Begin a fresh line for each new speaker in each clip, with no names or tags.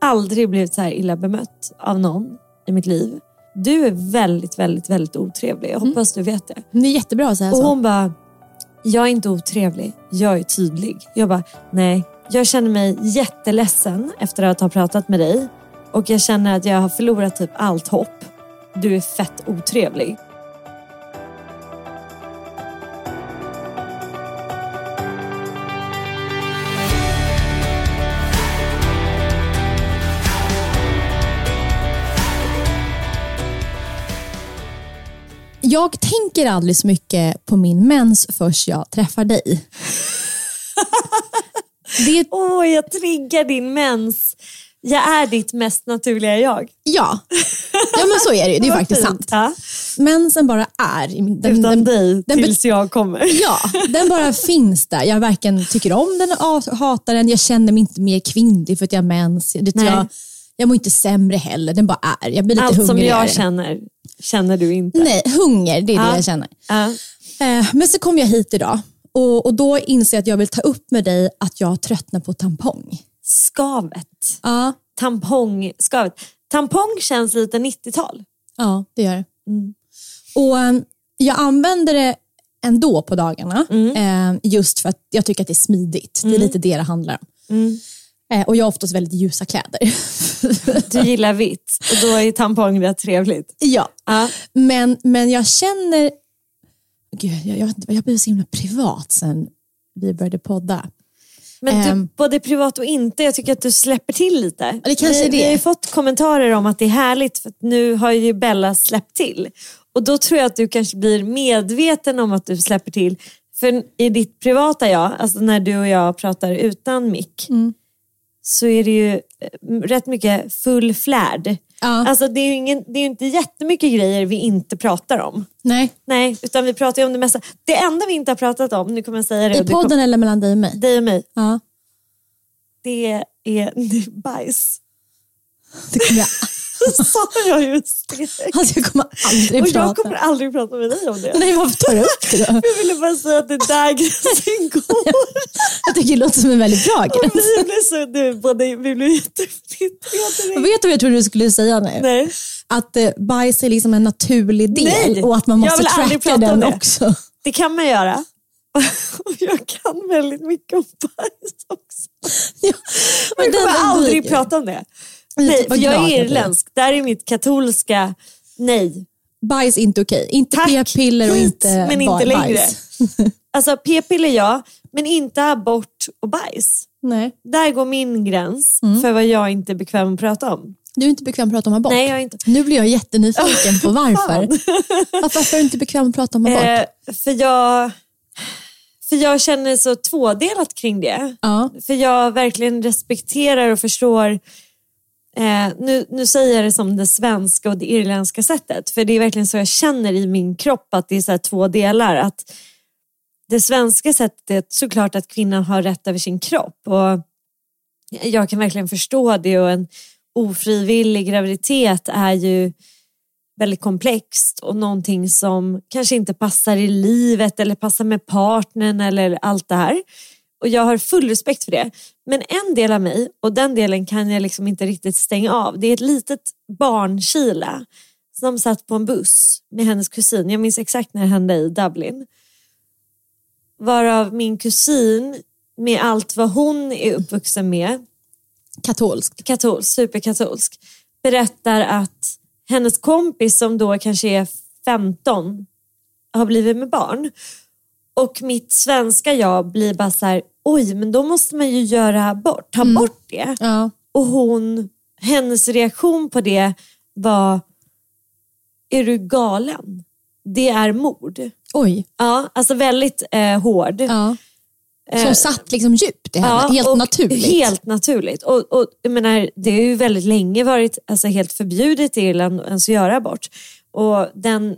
aldrig blivit så här illa bemött av någon i mitt liv. Du är väldigt, väldigt, väldigt otrevlig.
Mm.
Jag hoppas du vet det.
Det är jättebra att säga
Och
så.
hon bara, jag är inte otrevlig, jag är tydlig. Jag bara, nej. Jag känner mig jätteledsen efter att ha pratat med dig. Och jag känner att jag har förlorat typ allt hopp. Du är fett otrevlig.
Jag tänker aldrig så mycket på min mens förrän jag träffar dig. det,
Åh, jag triggar din mens. Jag är ditt mest naturliga jag.
ja. ja, men så är det ju. Det är
Vad
faktiskt
fint,
sant.
ja.
Mensen bara är. Den,
Utan
den,
dig
den
tills jag kommer.
Ja, den bara finns där. Jag varken tycker om den, av- hatar den, jag känner mig inte mer kvinnlig för att jag har mens. Det-
Nej.
Jag, jag mår inte sämre heller, den bara är. Jag blir lite
Allt som
hungrigare.
jag känner, känner du inte.
Nej, hunger, det är
Ja.
det jag känner.
Ja.
Eh, Men så kom jag hit idag och, och då inser jag att jag vill ta upp med dig att jag tröttnar på tampong.
Skavet.
Ja,
Tampongskavet. Tampong känns lite 90-tal.
ja det gör det. Mm. Och, eh, jag använder det ändå på dagarna, eh, just för att jag tycker att det är smidigt. Det är lite det det handlar om. Eh, Och jag har oftast väldigt ljusa kläder.
Du gillar vitt och då är tampong rätt trevligt.
ja.
Ja.
Men, men jag känner... Gud, jag, jag, vet inte, jag blev så himla privat sen vi började podda.
Men du,
Ehm.
både privat och inte, jag tycker att du släpper till lite.
det kanske
vi,
är det.
vi har ju fått kommentarer om att det är härligt för att nu har ju Bella släppt till. Och då tror jag att du kanske blir medveten om att du släpper till. För i ditt privata jag, alltså när du och jag pratar utan mick,
Mm.
så är det ju eh, rätt mycket full flärd.
Ja.
Alltså det är ju ingen, det är ju inte jättemycket grejer vi inte pratar om.
Nej,
Nej, utan vi pratar ju om det mesta. Det enda vi inte har pratat om, nu kommer jag säga det.
I
och det kommer-
podden eller mellan dig och mig?
dig och mig,
Ja.
det är bajs.
Det kommer jag,
sa jag just det.
alltså jag kommer aldrig
Och
prata.
jag kommer aldrig prata med dig om det.
Nej, varför tar du upp det då?
Jag ville bara säga att det är där gränsen går.
Jag tycker det låter som en väldigt bra
Och
gräns.
vi blev så, du, både, vi blev jättefnittriga direkt.
Vet du vad jag trodde du skulle säga nu?
Nej.
Att eh, bajs är liksom en naturlig del
Nej,
och att man
jag
måste
vill aldrig
tracka
prata om
den
det.
också.
Det kan man göra. Och jag kan väldigt mycket om bajs också.
Ja,
Men jag
den-
kommer
den
aldrig
duger.
prata om det.
Jag
Nej,
tycker
för
vad
jag
glad
är
blir.
irländsk. Där är mitt katolska nej.
Bajs är inte okej. Inte
Tack,
p-piller och
hit,
inte
men
ba-
inte längre.
bajs.
Alltså p-piller ja, men inte abort och bajs.
Nej,
Där går min gräns för vad jag inte är bekväm att prata om.
du är inte bekväm att prata om abort.
Nej, jag är inte.
Nu blir jag jättenyfiken på varför. varför. Varför är du inte bekväm att prata om abort?
Eh, för, jag, för jag känner så tvådelat kring det.
ja.
För jag verkligen respekterar och förstår Eh, nu, nu säger jag det som det svenska och det irländska sättet. För det är verkligen så jag känner i min kropp att det är så här två delar. Att det svenska sättet, såklart att kvinnan har rätt över sin kropp. Och jag kan verkligen förstå det och en ofrivillig graviditet är ju väldigt komplext och någonting som kanske inte passar i livet eller passar med partnern eller allt det här. Och jag har full respekt för det. Men en del av mig, och den delen kan jag liksom inte riktigt stänga av, det är ett litet barnkila som satt på en buss med hennes kusin. Jag minns exakt när det hände i Dublin. Varav min kusin, med allt vad hon är uppvuxen med,
Katolskt.
katolsk, superkatolsk, berättar att hennes kompis som då kanske är 15 har blivit med barn. Och mitt svenska jag blir bara så här, oj men då måste man ju göra bort, ta bort det.
Ja.
Och hon, hennes reaktion på det var, är du galen? Det är mord.
Oj.
Ja, alltså väldigt eh, hård.
Ja. Som satt liksom djupt i henne. helt
Eh, och
naturligt.
Helt naturligt. Och, och, jag menar, det har ju väldigt länge varit alltså, helt förbjudet i Irland att ens göra abort. Och den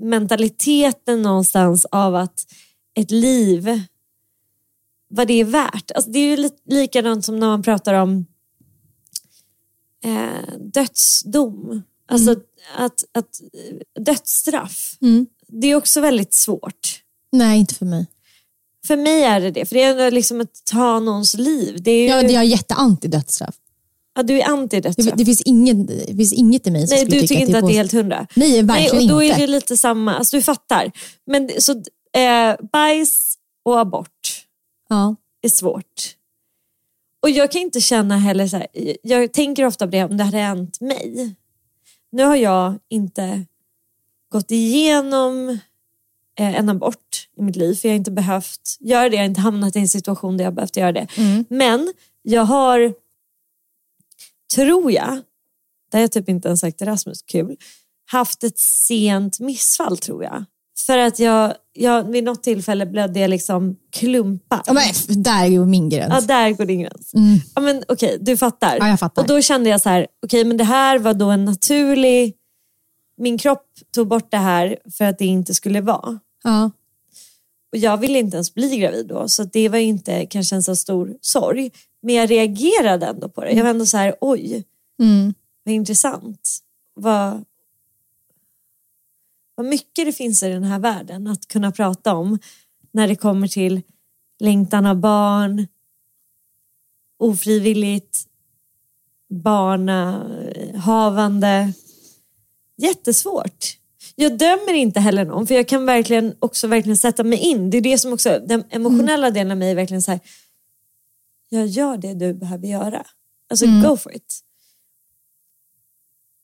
mentaliteten någonstans av att ett liv, vad det är värt. Alltså, det är ju li- likadant som när man pratar om eh, dödsdom. Alltså att, att eh, dödsstraff. Det är också väldigt svårt.
Nej, inte för mig.
För mig är det det. För det är liksom att ta någons liv. Det är ju,
Jag, jag är jätteanti dödsstraff.
ja, du är
Det,
anti-dödsstraff.
det, finns inget, det finns inget i mig
Alltså.
som
Nej, du
skulle tycka
tycker inte att det är
på-
helt hundra.
Nej,
Nej,
verkligen
och då
inte.
är det lite samma. Alltså, du fattar. Men det- så, eh, bajs och abort
Ja.
är svårt. Och jag kan inte känna heller så här, jag tänker ofta på det om det hade hänt mig. Nu har jag inte gått igenom eh, en abort i mitt liv för jag har inte behövt göra det. Jag har inte hamnat i en situation där jag behövt göra det. Men jag har, tror jag, det har jag typ inte ens sagt till Rasmus, kul, haft ett sent missfall tror jag. För att jag, jag vid något tillfälle blödde jag liksom klumpar.
Ja, men, f- där är ju min gräns.
Ja, där går din gräns. Ja, men okej, du fattar.
Alltså. Mm. Ja, jag fattar.
Och då kände jag så här, okej, men det här var då en naturlig... Min kropp tog bort det här för att det inte skulle vara.
Ja.
Och jag ville inte ens bli gravid då, så att det var ju inte kanske en så stor sorg. Men jag reagerade ändå på det. Jag var ändå så här, oj,
Mm.
vad intressant. Vad, vad mycket det finns i den här världen att kunna prata om när det kommer till längtan av barn, ofrivilligt barnahavande. Jättesvårt. Jag dömer inte heller någon för jag kan verkligen också verkligen sätta mig in. Det är det som också, den emotionella delen av mig är verkligen så här. jag gör det du behöver göra. Alltså go for it.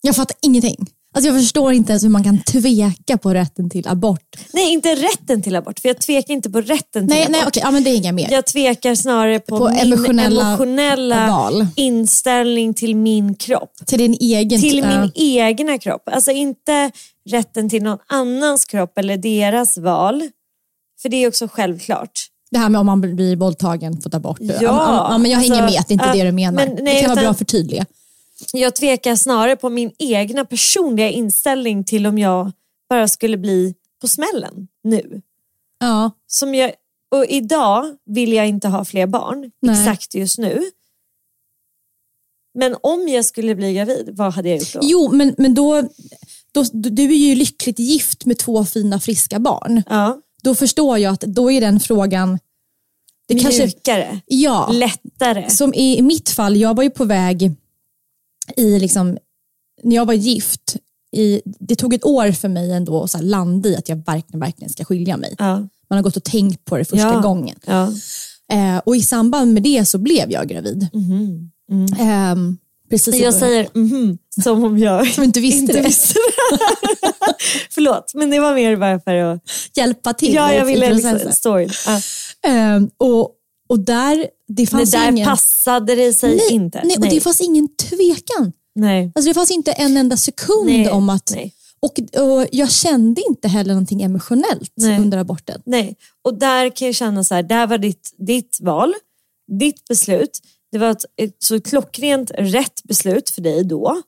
Jag fattar ingenting. Alltså, jag förstår inte ens hur man kan tveka på rätten till abort.
Nej, inte rätten till abort, för jag tvekar inte på rätten till
Nej,
abort.
nej okej, ja, men det är inga mer.
Jag tvekar snarare på,
På
min
emotionella
emotionella,
val.
inställning till min kropp.
Till din egen...
Till
ja.
min egna kropp. Alltså inte rätten till någon annans kropp eller deras val. För det är också självklart.
Det här med om man blir våldtagen, får ta bort.
Ja,
ja, men jag hänger
alltså,
med att det inte är det
ja,
du menar.
men
det
nej,
kan vara bra
utan-
att förtydliga.
Jag tvekar snarare på min egna personliga inställning till om jag bara skulle bli på smällen nu.
Ja,
som jag, och idag vill jag inte ha fler barn,
Nej.
exakt just nu. Men om jag skulle bli gravid, vad hade jag gjort då?
Jo, men, men då, då, du är ju lyckligt gift med två fina friska barn.
Ja,
Då förstår jag att då är den frågan... Det kanske,
mjukare,
ja,
lättare.
som i mitt fall, jag var ju på väg i liksom, när jag var gift, i, det tog ett år för mig ändå att så här landa i att jag verkligen, verkligen ska skilja mig.
Ja,
Man har gått och tänkt på det första
Ja.
gången.
ja.
Eh, och i samband med det så blev jag gravid. Ehm, precis i
Mm-hmm. Mm. Jag
början.
säger mhm som om jag
som inte visste
inte
det.
visste. Förlåt, men det var mer bara för att...
Hjälpa till
Ja,
i
jag ville
processen.
liksom... Story. Ja.
Ehm, och, och där, det
Det
fanns
där
ingen...
passade det sig
nej,
inte.
Nej, och det fanns ingen tvekan.
nej.
Alltså det fanns inte en enda sekund
Nej,
om att...
nej.
Och, och jag kände inte heller någonting emotionellt
Nej.
under aborten.
Nej, och där kan jag känna så här, där var ditt, ditt val, ditt beslut. Det var ett, ett så klockrent rätt beslut för dig då.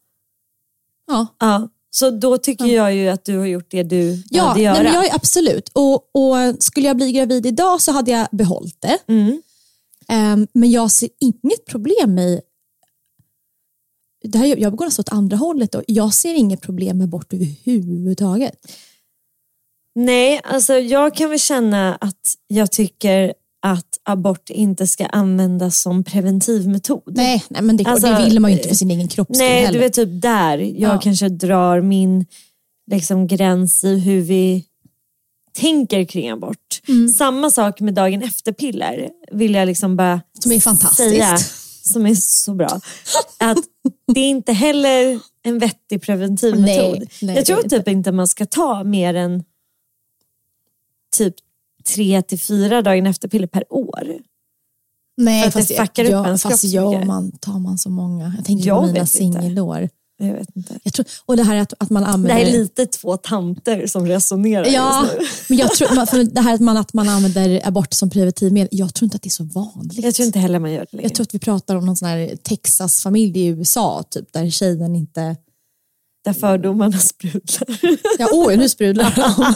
Ja,
Ja. Så då tycker jag ju att du har gjort det du
ja
behövde
nej,
göra.
men jag, absolut. Och, och Skulle jag bli gravid idag så hade jag behållit det.
Mm.
Ehm, men jag ser inget problem i... Det här, jag går alltså åt andra hållet. Då. Jag ser inget problem med abort överhuvudtaget.
Nej, alltså jag kan väl känna att jag tycker att abort inte ska användas som preventivmetod.
Nej, nej men det, är klart,
Alltså,
det vill man ju inte för sin egen kropps skull
Nej,
heller.
du vet typ där jag
Ja.
kanske drar min liksom, gräns i hur vi tänker kring abort.
Mm.
Samma sak med dagen efter-piller vill jag liksom bara
Som är fantastiskt.
säga, som är så bra. Att det är inte heller en vettig preventivmetod.
Nej, nej,
jag tror
det är det
typ inte man ska ta mer än typ tre till fyra dagen efter-piller per år.
Nej,
För att
fast
det fuckar upp
jag,
ens
fast
kropp så
jag
mycket.
man, tar man så många. Jag tänker
Jag
på
vet
mina
inte.
singelår.
Jag vet inte.
Jag tror, och det här att, att man
Det
använder...
här är lite två tanter som resonerar
Ja,
just nu.
men jag tror, man- för det här att man, att man använder abort som preventivmedel, jag tror inte att det är så vanligt.
Jag tror inte heller man gör det längre.
Jag tror att vi pratar om någon sån här Texas-familj i USA, typ, där tjejen inte...
Där fördomarna sprudlar.
Ja, åh, nu sprudlar de.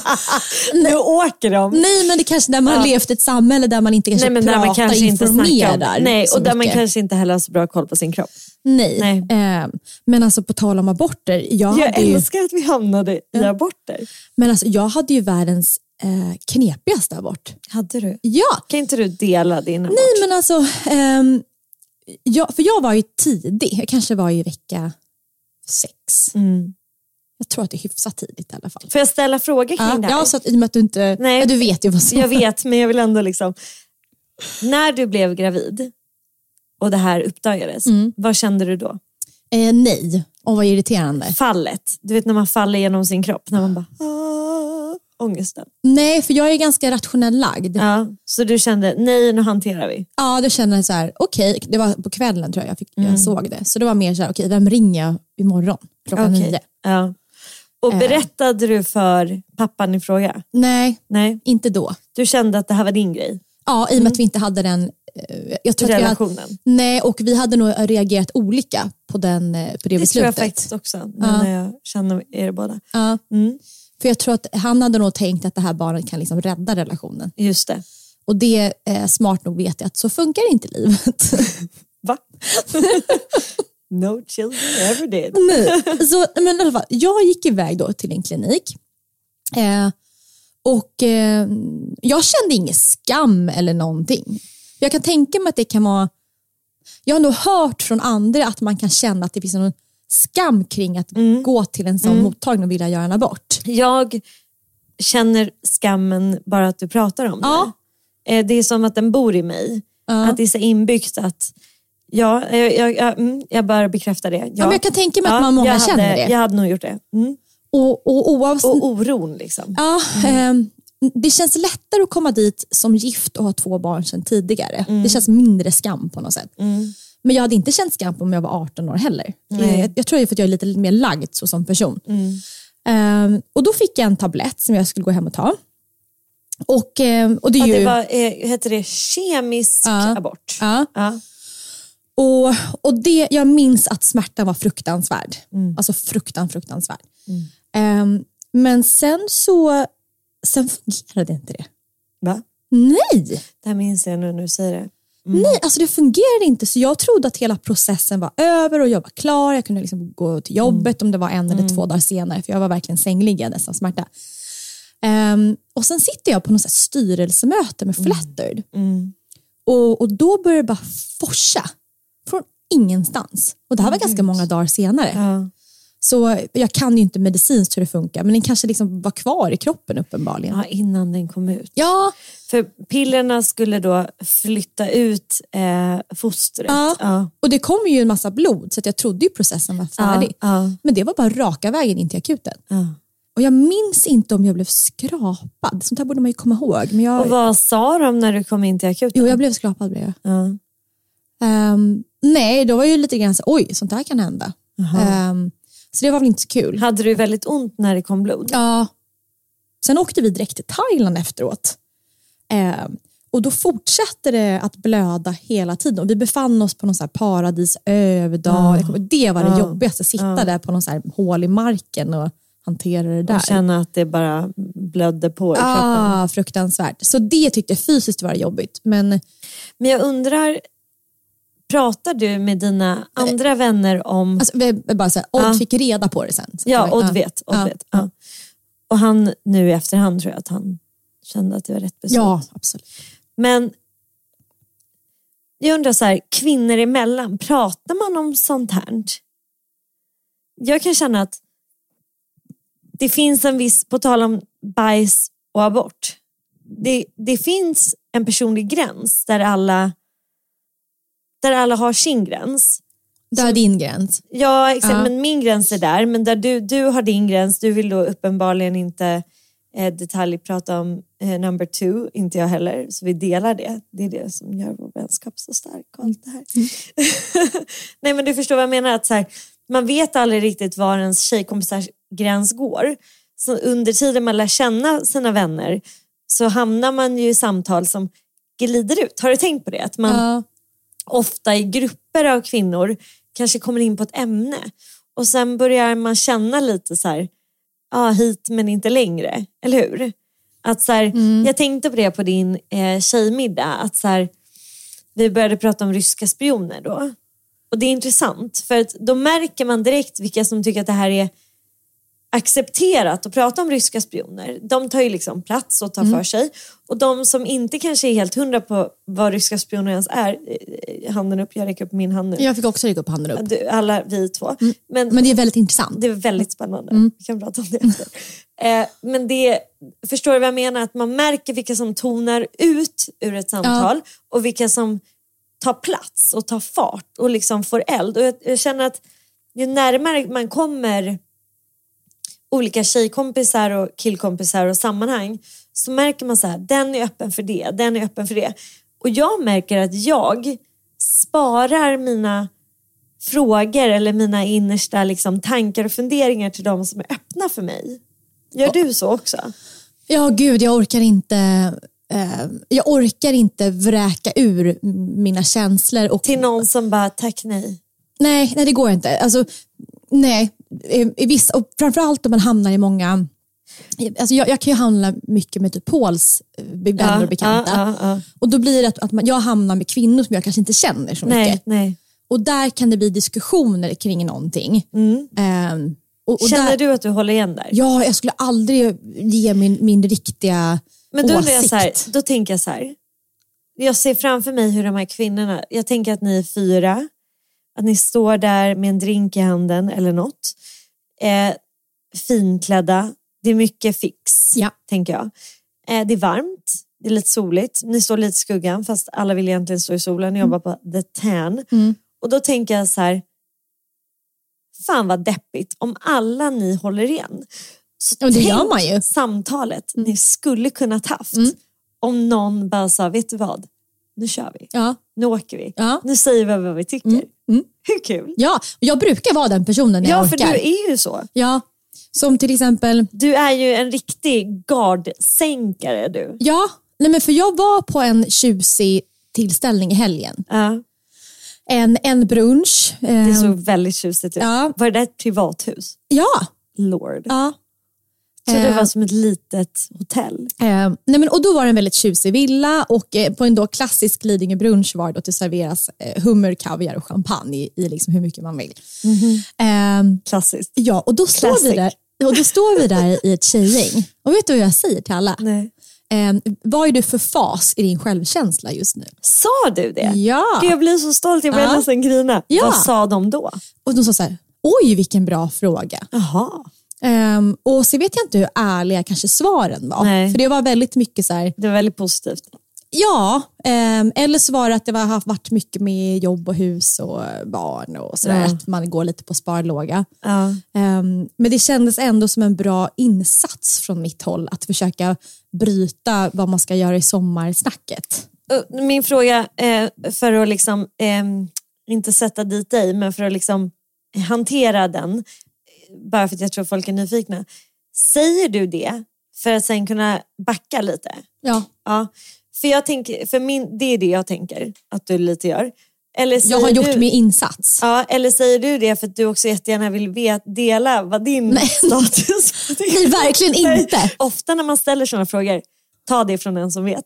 nu åker de.
Nej, men det kanske när man har levt i ett samhälle där man inte kanske
Nej, men där
pratar,
man kanske inte snackar
informerar.
om, Nej,
så
och där man
mycket.
kanske inte heller har så bra koll på sin kropp.
Nej.
Nej.
Eh, men alltså på tal om aborter, jag,
jag
hade ju,
älskar att vi hamnade i aborter.
men alltså, jag hade ju världens eh, knepigaste abort.
Hade du?
Ja,
Kan inte du dela din abort?
Nej, men alltså, ehm, jag, för jag var ju tidig. Jag kanske var i vecka sex.
Mm.
Jag tror att det är hyfsat tidigt i alla fall.
Får jag ställa frågor kring
Ja,
det här?
ja, så att, i och med att du inte...
Nej.
ja, du vet ju vad som...
Jag vet, men jag vill ändå liksom... När du blev gravid och det här uppdagades,
Mm.
vad kände du då?
Eh, nej. Och vad irriterande.
Fallet. Du vet när man faller genom sin kropp, när man bara... "Ah", Ångesten.
Nej, för jag är ganska rationell lagd. Ja,
Ja, så du kände, nej nu hanterar vi.
då känner jag så här, okej, det var på kvällen tror jag jag, fick,
Mm.
jag såg det. Så det var mer så här, okej, vem ringer jag imorgon klockan
Okej,
nio? Eh.
Ja. Och berättade du för pappan i fråga?
Nej,
Nej,
inte då.
du kände att det här var din grej?
Ja, i och med att vi inte hade den... eh, Jag tror att vi hade,
Mm. Relationen?
nej, och vi hade nog reagerat olika på, den, eh, på det,
Det
beslutet.
tror jag faktiskt också, nu
Ja.
när jag känner er båda.
Ja.
Mm.
För jag tror att han hade nog tänkt att det här barnet kan liksom rädda relationen.
Just det.
Och det, eh, smart nog vet jag att så funkar inte livet.
Va? no children ever did.
Nej. Så, alltså, men i alla fall, jag gick iväg då till en klinik. Eh, och eh, jag kände ingen skam eller någonting. Jag kan tänka mig att det kan vara... Jag har nog hört från andra att man kan känna att det finns någon skam kring att
Mm.
gå till en sån mottagning och vilja göra en abort.
Jag känner skammen bara att du pratar om
Ja.
det. Eh, Det är som att den bor i mig.
Ja.
Att det är så inbyggt att Ja, jag, jag, jag, mm, jag bara bekräftar det. Ja.
men jag kan tänka mig att man- många
jag hade,
känner det.
Jag hade nog gjort det. Mm.
Och, och oavsett...
Och oron liksom.
Ja, ehm, det känns lättare att komma dit som gift och ha två barn sedan tidigare.
Mm.
Det känns mindre skam på något sätt. Men jag hade inte känt skam om jag var 18 år heller.
Nej. Mm.
Jag, jag tror det är för att jag är lite mer lagd så som person. Ehm, och Då fick jag en tablett som jag skulle gå hem och ta. Och, ehm, och det
Ja,
är ju...
det var, eh, heter det kemisk
Ja.
abort?
ja.
Ja.
Och, och det, jag minns att smärtan var fruktansvärd.
Mm.
Alltså fruktan, fruktansvärd. Ehm, men sen så sen fungerade inte det.
Va?
Nej!
Det här minns jag nu när du säger det.
Nej, alltså det fungerade inte. Så jag trodde att hela processen var över och jag var klar. Jag kunde liksom gå till
Mm.
jobbet om det var en eller två dagar senare. För jag var verkligen sängliggande av smärta. Ehm, och sen sitter jag på något så här styrelsemöte
Mm.
med Flattered. Och, och då börjar det bara forsa. Från ingenstans. Och det här var ganska många dagar senare.
Ja.
Så jag kan ju inte medicinskt hur det funkar. Men den kanske liksom var kvar i kroppen uppenbarligen.
Ja, innan den kom ut.
Ja,
För pillerna skulle då flytta ut eh, fostret.
Ja.
Ja.
och det kom ju en massa blod. Så att jag trodde ju processen var färdig.
Ja.
Men det var bara raka vägen in till akuten.
Ja.
Och jag minns inte om jag blev skrapad. Sånt här borde man ju komma ihåg. Men jag,
Och vad sa de när du kom in till akuten?
Jo, jag blev skrapad. Blev jag.
ja.
Ehm, nej, då var jag ju lite grann så oj, sånt här kan hända. Ehm, så det var väl inte så kul.
Hade du väldigt ont när det kom blod?
Ja. Sen åkte vi direkt till Thailand efteråt. Ehm, Och då fortsatte det att blöda hela tiden. Och vi befann oss på någon så här paradisö över
Ah.
dagen. Jag kommer- Det var det jobbigaste, att sitta där på någon så här hål i marken och hantera det där.
Och känna att det bara blödde på i kroppen.
ah, fruktansvärt. Så det tyckte jag fysiskt var jobbigt. Men
Men jag undrar, pratar du med dina andra vänner om...
alltså, vi, vi bara så här, Odd fick reda på det sen. Så
Ah.
Ah.
ja,
att det var-
Odd vet. Odd
ja.
vet. Ja. Och han nu i efterhand tror jag att han kände att det var rätt beslut.
Ja, absolut.
Men jag undrar så här, kvinnor emellan, pratar man om sånt här? Jag kan känna att det finns en viss, på tal om bajs och abort, det, det finns en personlig gräns där alla, där alla har sin gräns.
Där är din gräns.
Ja, exakt.
Ja.
Men min gräns är där, men där du, du har din gräns, du vill då uppenbarligen inte eh, detaljprata om eh, number two, inte jag heller, så vi delar det. Det är det som gör vår vänskap så stark och allt det här. Nej, men du förstår vad jag menar, att så här, man vet aldrig riktigt var ens tjejkompisars gräns går. Så under tiden man lär känna sina vänner så hamnar man ju i samtal som glider ut. Har du tänkt på det? Att man,
Ja.
ofta i grupper av kvinnor kanske kommer in på ett ämne och sen börjar man känna lite så här, ja hit men inte längre, eller hur? Att så här,
Mm.
Jag tänkte på det på din eh, tjejmiddag, att så här, vi började prata om ryska spioner då. Och det är intressant, för att då märker man direkt vilka som tycker att det här är accepterat att prata om ryska spioner. De tar ju liksom plats och tar
Mm.
för sig. Och de som inte kanske är helt hundra på vad ryska spioner ens är, eh, handen upp, jag räcker upp min hand nu.
Jag fick också rycka upp handen upp.
Du, alla vi två. Men,
Mm. Men det är väldigt intressant.
det är väldigt spännande. Vi kan prata om det efter. Eh, men det, förstår du vad jag menar? Att man märker vilka som tonar ut ur ett samtal och vilka som tar plats och tar fart och liksom får eld. Och jag, jag känner att ju närmare man kommer olika tjejkompisar och killkompisar och sammanhang så märker man så här, den är öppen för det, den är öppen för det. Och jag märker att jag sparar mina frågor eller mina innersta liksom, tankar och funderingar till de som är öppna för mig. Gör du så också?
Ja, gud, jag orkar inte eh, jag orkar inte vräka ur mina känslor. Och,
Till någon som bara, tack nej.
nej, nej, det går inte. Alltså, nej, i, i viss, och framförallt om man hamnar i många... Alltså jag, jag kan ju handla mycket med typ Pauls eh, vänner och bekanta.
ja, ja, ja.
Och då blir det att, att man, jag hamnar med kvinnor som jag kanske inte känner så
Nej,
mycket.
nej.
Och där kan det bli diskussioner kring någonting. Ehm, och, och
Mm. Känner
där,
du att du håller igen där?
Ja, jag skulle aldrig ge min, min riktiga
Men då, undrar
åsikt.
jag så här, då tänker jag så här. Jag ser framför mig hur de här kvinnorna, jag tänker att ni är fyra, att ni står där med en drink i handen eller något. Eh, finklädda, det är mycket fix,
Ja.
tänker jag. Eh, det är varmt, det är lite soligt, ni står lite i skuggan fast alla vill egentligen stå i solen, ni jobbar på the tan.
Mm.
Och då tänker jag så här, fan vad deppigt om alla ni håller igen. Så
Ja, det
tänk
gör man ju. Mm.
samtalet ni skulle kunna haft om någon bara sa, vet du vad, nu kör vi,
Ja,
nu åker vi,
Ja.
nu säger vi vad vi tycker.
mm.
Hur kul?
ja. Och jag brukar vara den personen när jag
Ja, för du
orkar.
är ju så.
Ja, som till exempel,
Du är ju en riktig gardsänkare du.
ja, nej men för jag var på en tjusig tillställning i helgen.
Ja,
En, en brunch.
det
ehm,
såg väldigt tjusigt ut.
Ja.
Var det där ett privathus?
Ja.
Lord.
ja.
Så det
Eh.
var som ett litet hotell.
Eh, nej men, och då var det en väldigt tjusig villa och eh, på en då klassisk Lidingö brunch var det att det serveras eh, hummer, kaviar och champagne i, i liksom hur mycket man vill. Ehm,
Klassiskt.
ja, och då, står vi
Mhm. Classic.
där, och då står vi där i ett tjejgäng. Och vet du vad jag säger till alla?
Nej.
Ehm, vad är du för fas i din självkänsla just nu?
Sa du det?
Ja.
Gud, jag blir så stolt, jag börjar
Ja.
nästan grina.
Ja.
Vad sa de då?
Och de sa så här, oj vilken bra fråga.
Jaha,
Ehm, och så vet jag inte hur ärliga kanske svaren var.
Nej.
För det var väldigt mycket så här,
det var väldigt positivt.
ja, ehm, eller så var det att det var, har varit mycket med jobb och hus och barn och sådär,
Ja.
att man går lite på sparlåga.
Ja.
Ehm, men det kändes ändå som en bra insats från mitt håll att försöka bryta vad man ska göra i sommarsnacket.
Och Min fråga eh, för att liksom, eh, inte sätta dit dig, men för att liksom hantera den, bara för att jag tror folk är nyfikna. Säger du det för att sen kunna backa lite?
Ja.
Ja. För, jag tänker, för min, det är det jag tänker att du lite gör. Eller
Jag har
säger
gjort
du,
min insats.
Ja, eller säger du det för att du också jättegärna vill vet, dela vad din
Nej.
status
Nej, verkligen inte.
Ofta när man ställer sådana frågor, ta det från en som vet,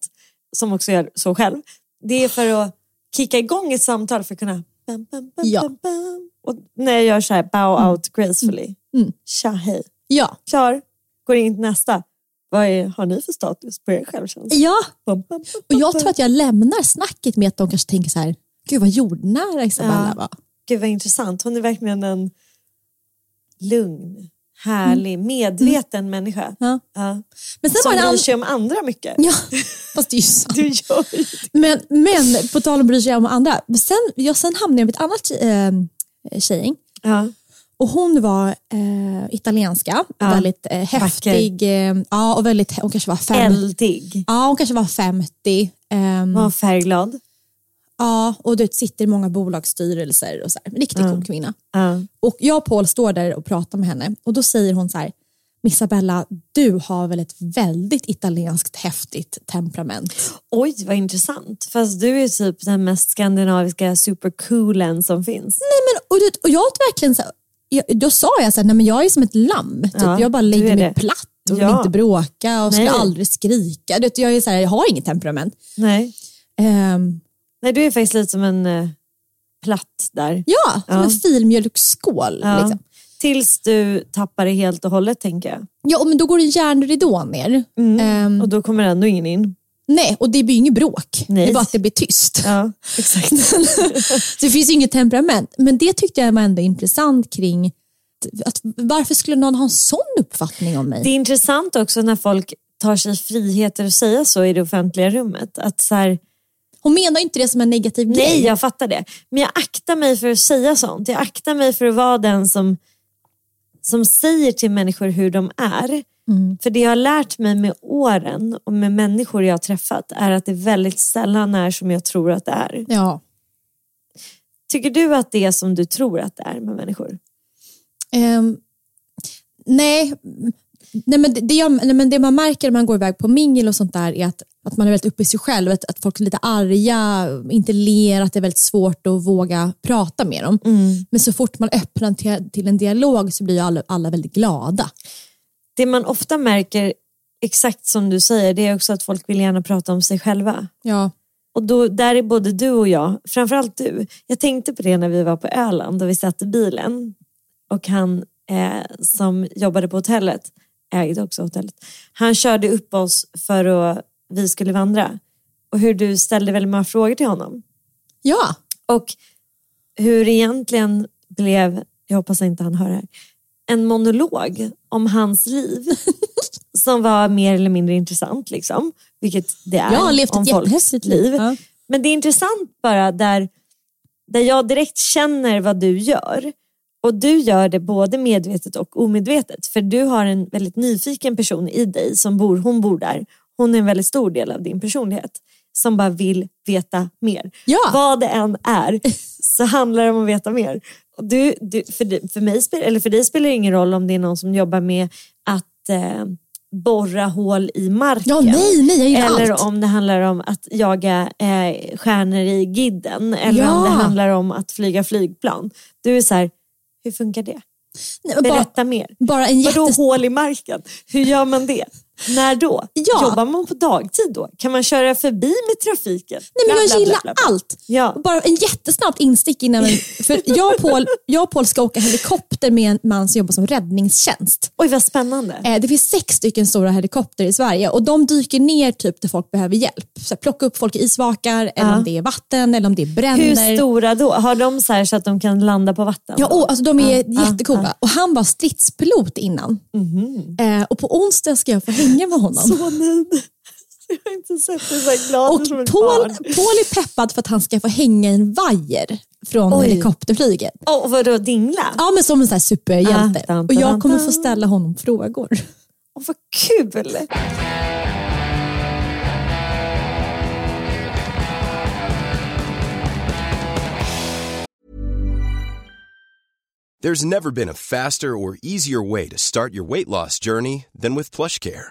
som också gör så själv. Det är för att kicka igång ett samtal för att kunna... Bam, bam, bam,
Ja.
bam, bam. Och när jag gör så här, bow out gracefully.
Mm.
Tja, hej.
Ja.
Klar, går in till nästa. Vad är, har ni för status på er självkänsla?
ja.
Bam, bam, bam,
Och
bam,
jag
bam.
tror att jag lämnar snacket med att de kanske tänker så här, gud vad jordnära Isabella
Ja.
var.
Gud vad intressant. Hon är verkligen en lugn, härlig, medveten människa.
Ja.
Ja.
Men sen
Som
var det en
bryr
annan...
sig om andra mycket.
Ja, fast det är ju sant.
Du gör ju det.
Men, men på tal om att bry sig om andra. Men Sen, jag, sen hamnade jag med ett annat eh, tjejgäng.
Ja.
Och hon var eh, italienska,
Ja.
väldigt eh, häftig. Eh, ja, och väldigt, hon kanske var fem,
Eldig.
ja, hon kanske var 50. ehm,
Var färgglad.
ja, och du vet, sitter i många bolagsstyrelser. Och så här. En Riktigt cool kvinna.
Ja.
Och jag och Paul står där och pratar med henne och då säger hon så här, Missabella, du har väl ett väldigt italienskt häftigt temperament.
Oj, vad intressant. Fast du är typ den mest skandinaviska supercoolen som finns.
Nej, men, och, du, vet, och jag åt verkligen så här, jag, då sa jag så här, nej men jag är som ett lamm. Typ.
Ja,
jag bara
du
lägger
är
mig
det.
platt och vill
Ja.
inte bråka och
Nej.
ska aldrig skrika. Du vet, jag, är så här, jag har inget temperament.
Nej.
Ehm,
Nej, du är faktiskt lite som en eh, platt där.
ja, som
Ja.
en filmjölksskål.
Ja.
Liksom.
Tills du tappar det helt och hållet, tänker jag.
Ja, och men då går det en järnridå ner.
Mm.
Ehm,
Och då kommer ändå ingen in.
nej, och det blir ju inget bråk. Det
Nej.
är bara att det blir tyst.
Ja, exakt.
så det finns ju inget temperament. Men det tyckte jag var ändå intressant kring att- att varför skulle någon ha en sån uppfattning om mig?
Det är intressant också när folk tar sig friheter att säga så i det offentliga rummet. Att så här,
Hon menar ju inte det som en negativ
nej,
grej.
jag fattar det. Men jag aktar mig för att säga sånt. Jag aktar mig för att vara den som, som säger till människor hur de är. För det jag har lärt mig med åren och med människor jag har träffat är att det väldigt sällan är som jag tror att det är.
Ja.
Tycker du att det är som du tror att det är med människor?
Ehm, nej, nej, men det, det jag, nej, men det man märker när man går iväg på mingel och sånt där är att, att man är väldigt uppe i sig själv, att, att folk är lite arga, inte ler, att det är väldigt svårt att våga prata med dem.
Mm.
Men så fort man öppnar till, till en dialog så blir ju alla, alla väldigt glada.
Det man ofta märker, exakt som du säger, det är också att folk vill gärna prata om sig själva.
Ja.
Och då, där är både du och jag, framförallt du. Jag tänkte på det när vi var på Öland och vi satt i bilen. Och han eh, som jobbade på hotellet, ägde också hotellet, han körde upp oss för att vi skulle vandra. Och hur du ställde väldigt många frågor till honom.
ja.
Och hur det egentligen blev, jag hoppas inte han hör det här, en monolog om hans liv. som var mer eller mindre intressant, liksom. vilket det är.
Jag har levt
om
ett
folks
jättehäftigt liv. Ja.
men det är intressant bara där, där jag direkt känner vad du gör. Och du gör det både medvetet och omedvetet. För du har en väldigt nyfiken person i dig som bor, hon bor där. Hon är en väldigt stor del av din personlighet. Som bara vill veta mer.
Ja.
Vad det än är så handlar det om att veta mer. Och Du, du, för, dig- för, mig, spel- eller för dig spelar det ingen roll om det är någon som jobbar med att eh, borra hål i marken.
Ja, nej, nej, jag gillar
Eller
allt.
om det handlar om att jaga eh, stjärnor i Gidden eller
Ja.
om det handlar om att flyga flygplan. Du är så här, hur funkar det?
Nej, men bara,
Berätta mer.
bara en jätte...
Vadå hål i marken? Hur gör man det? När då?
Ja.
Jobbar man på dagtid då? Kan man köra förbi med trafiken?
Nej, men
Bla, bla, bla,
jag gillar
bla, bla.
allt.
Ja.
Och Bara en jättesnabbt instick innan. vi- För jag, och Paul, jag och Paul ska åka helikopter med en man som jobbar som räddningstjänst.
Oj, vad spännande.
Eh, Det finns sex stycken stora helikopter i Sverige och de dyker ner typ där folk behöver hjälp. Så här, plocka upp folk i isvakar, eller om det är vatten, eller om det bränner.
Hur stora då? Har de så här så att de kan landa på vatten?
Ja, och, alltså, de är
Ja, Mhm.
jättecoola. Och han var stridspilot innan. Eh, och på onsdag ska jag få hänga med honom.
Åh, nej. Jag har inte sett dig så här glad
Och
som ett
Paul,
barn.
Paul är peppad för att han ska få hänga i en vajer från
Oj.
helikopterflyget.
Och vadå, dingla?
Ja, men som en sån här superhjälte.
Ah, tan,
och
tan,
jag kommer
tan.
få ställa honom frågor.
Åh, vad kul!
There's never been a faster or easier way to start your weight loss journey than with PlushCare.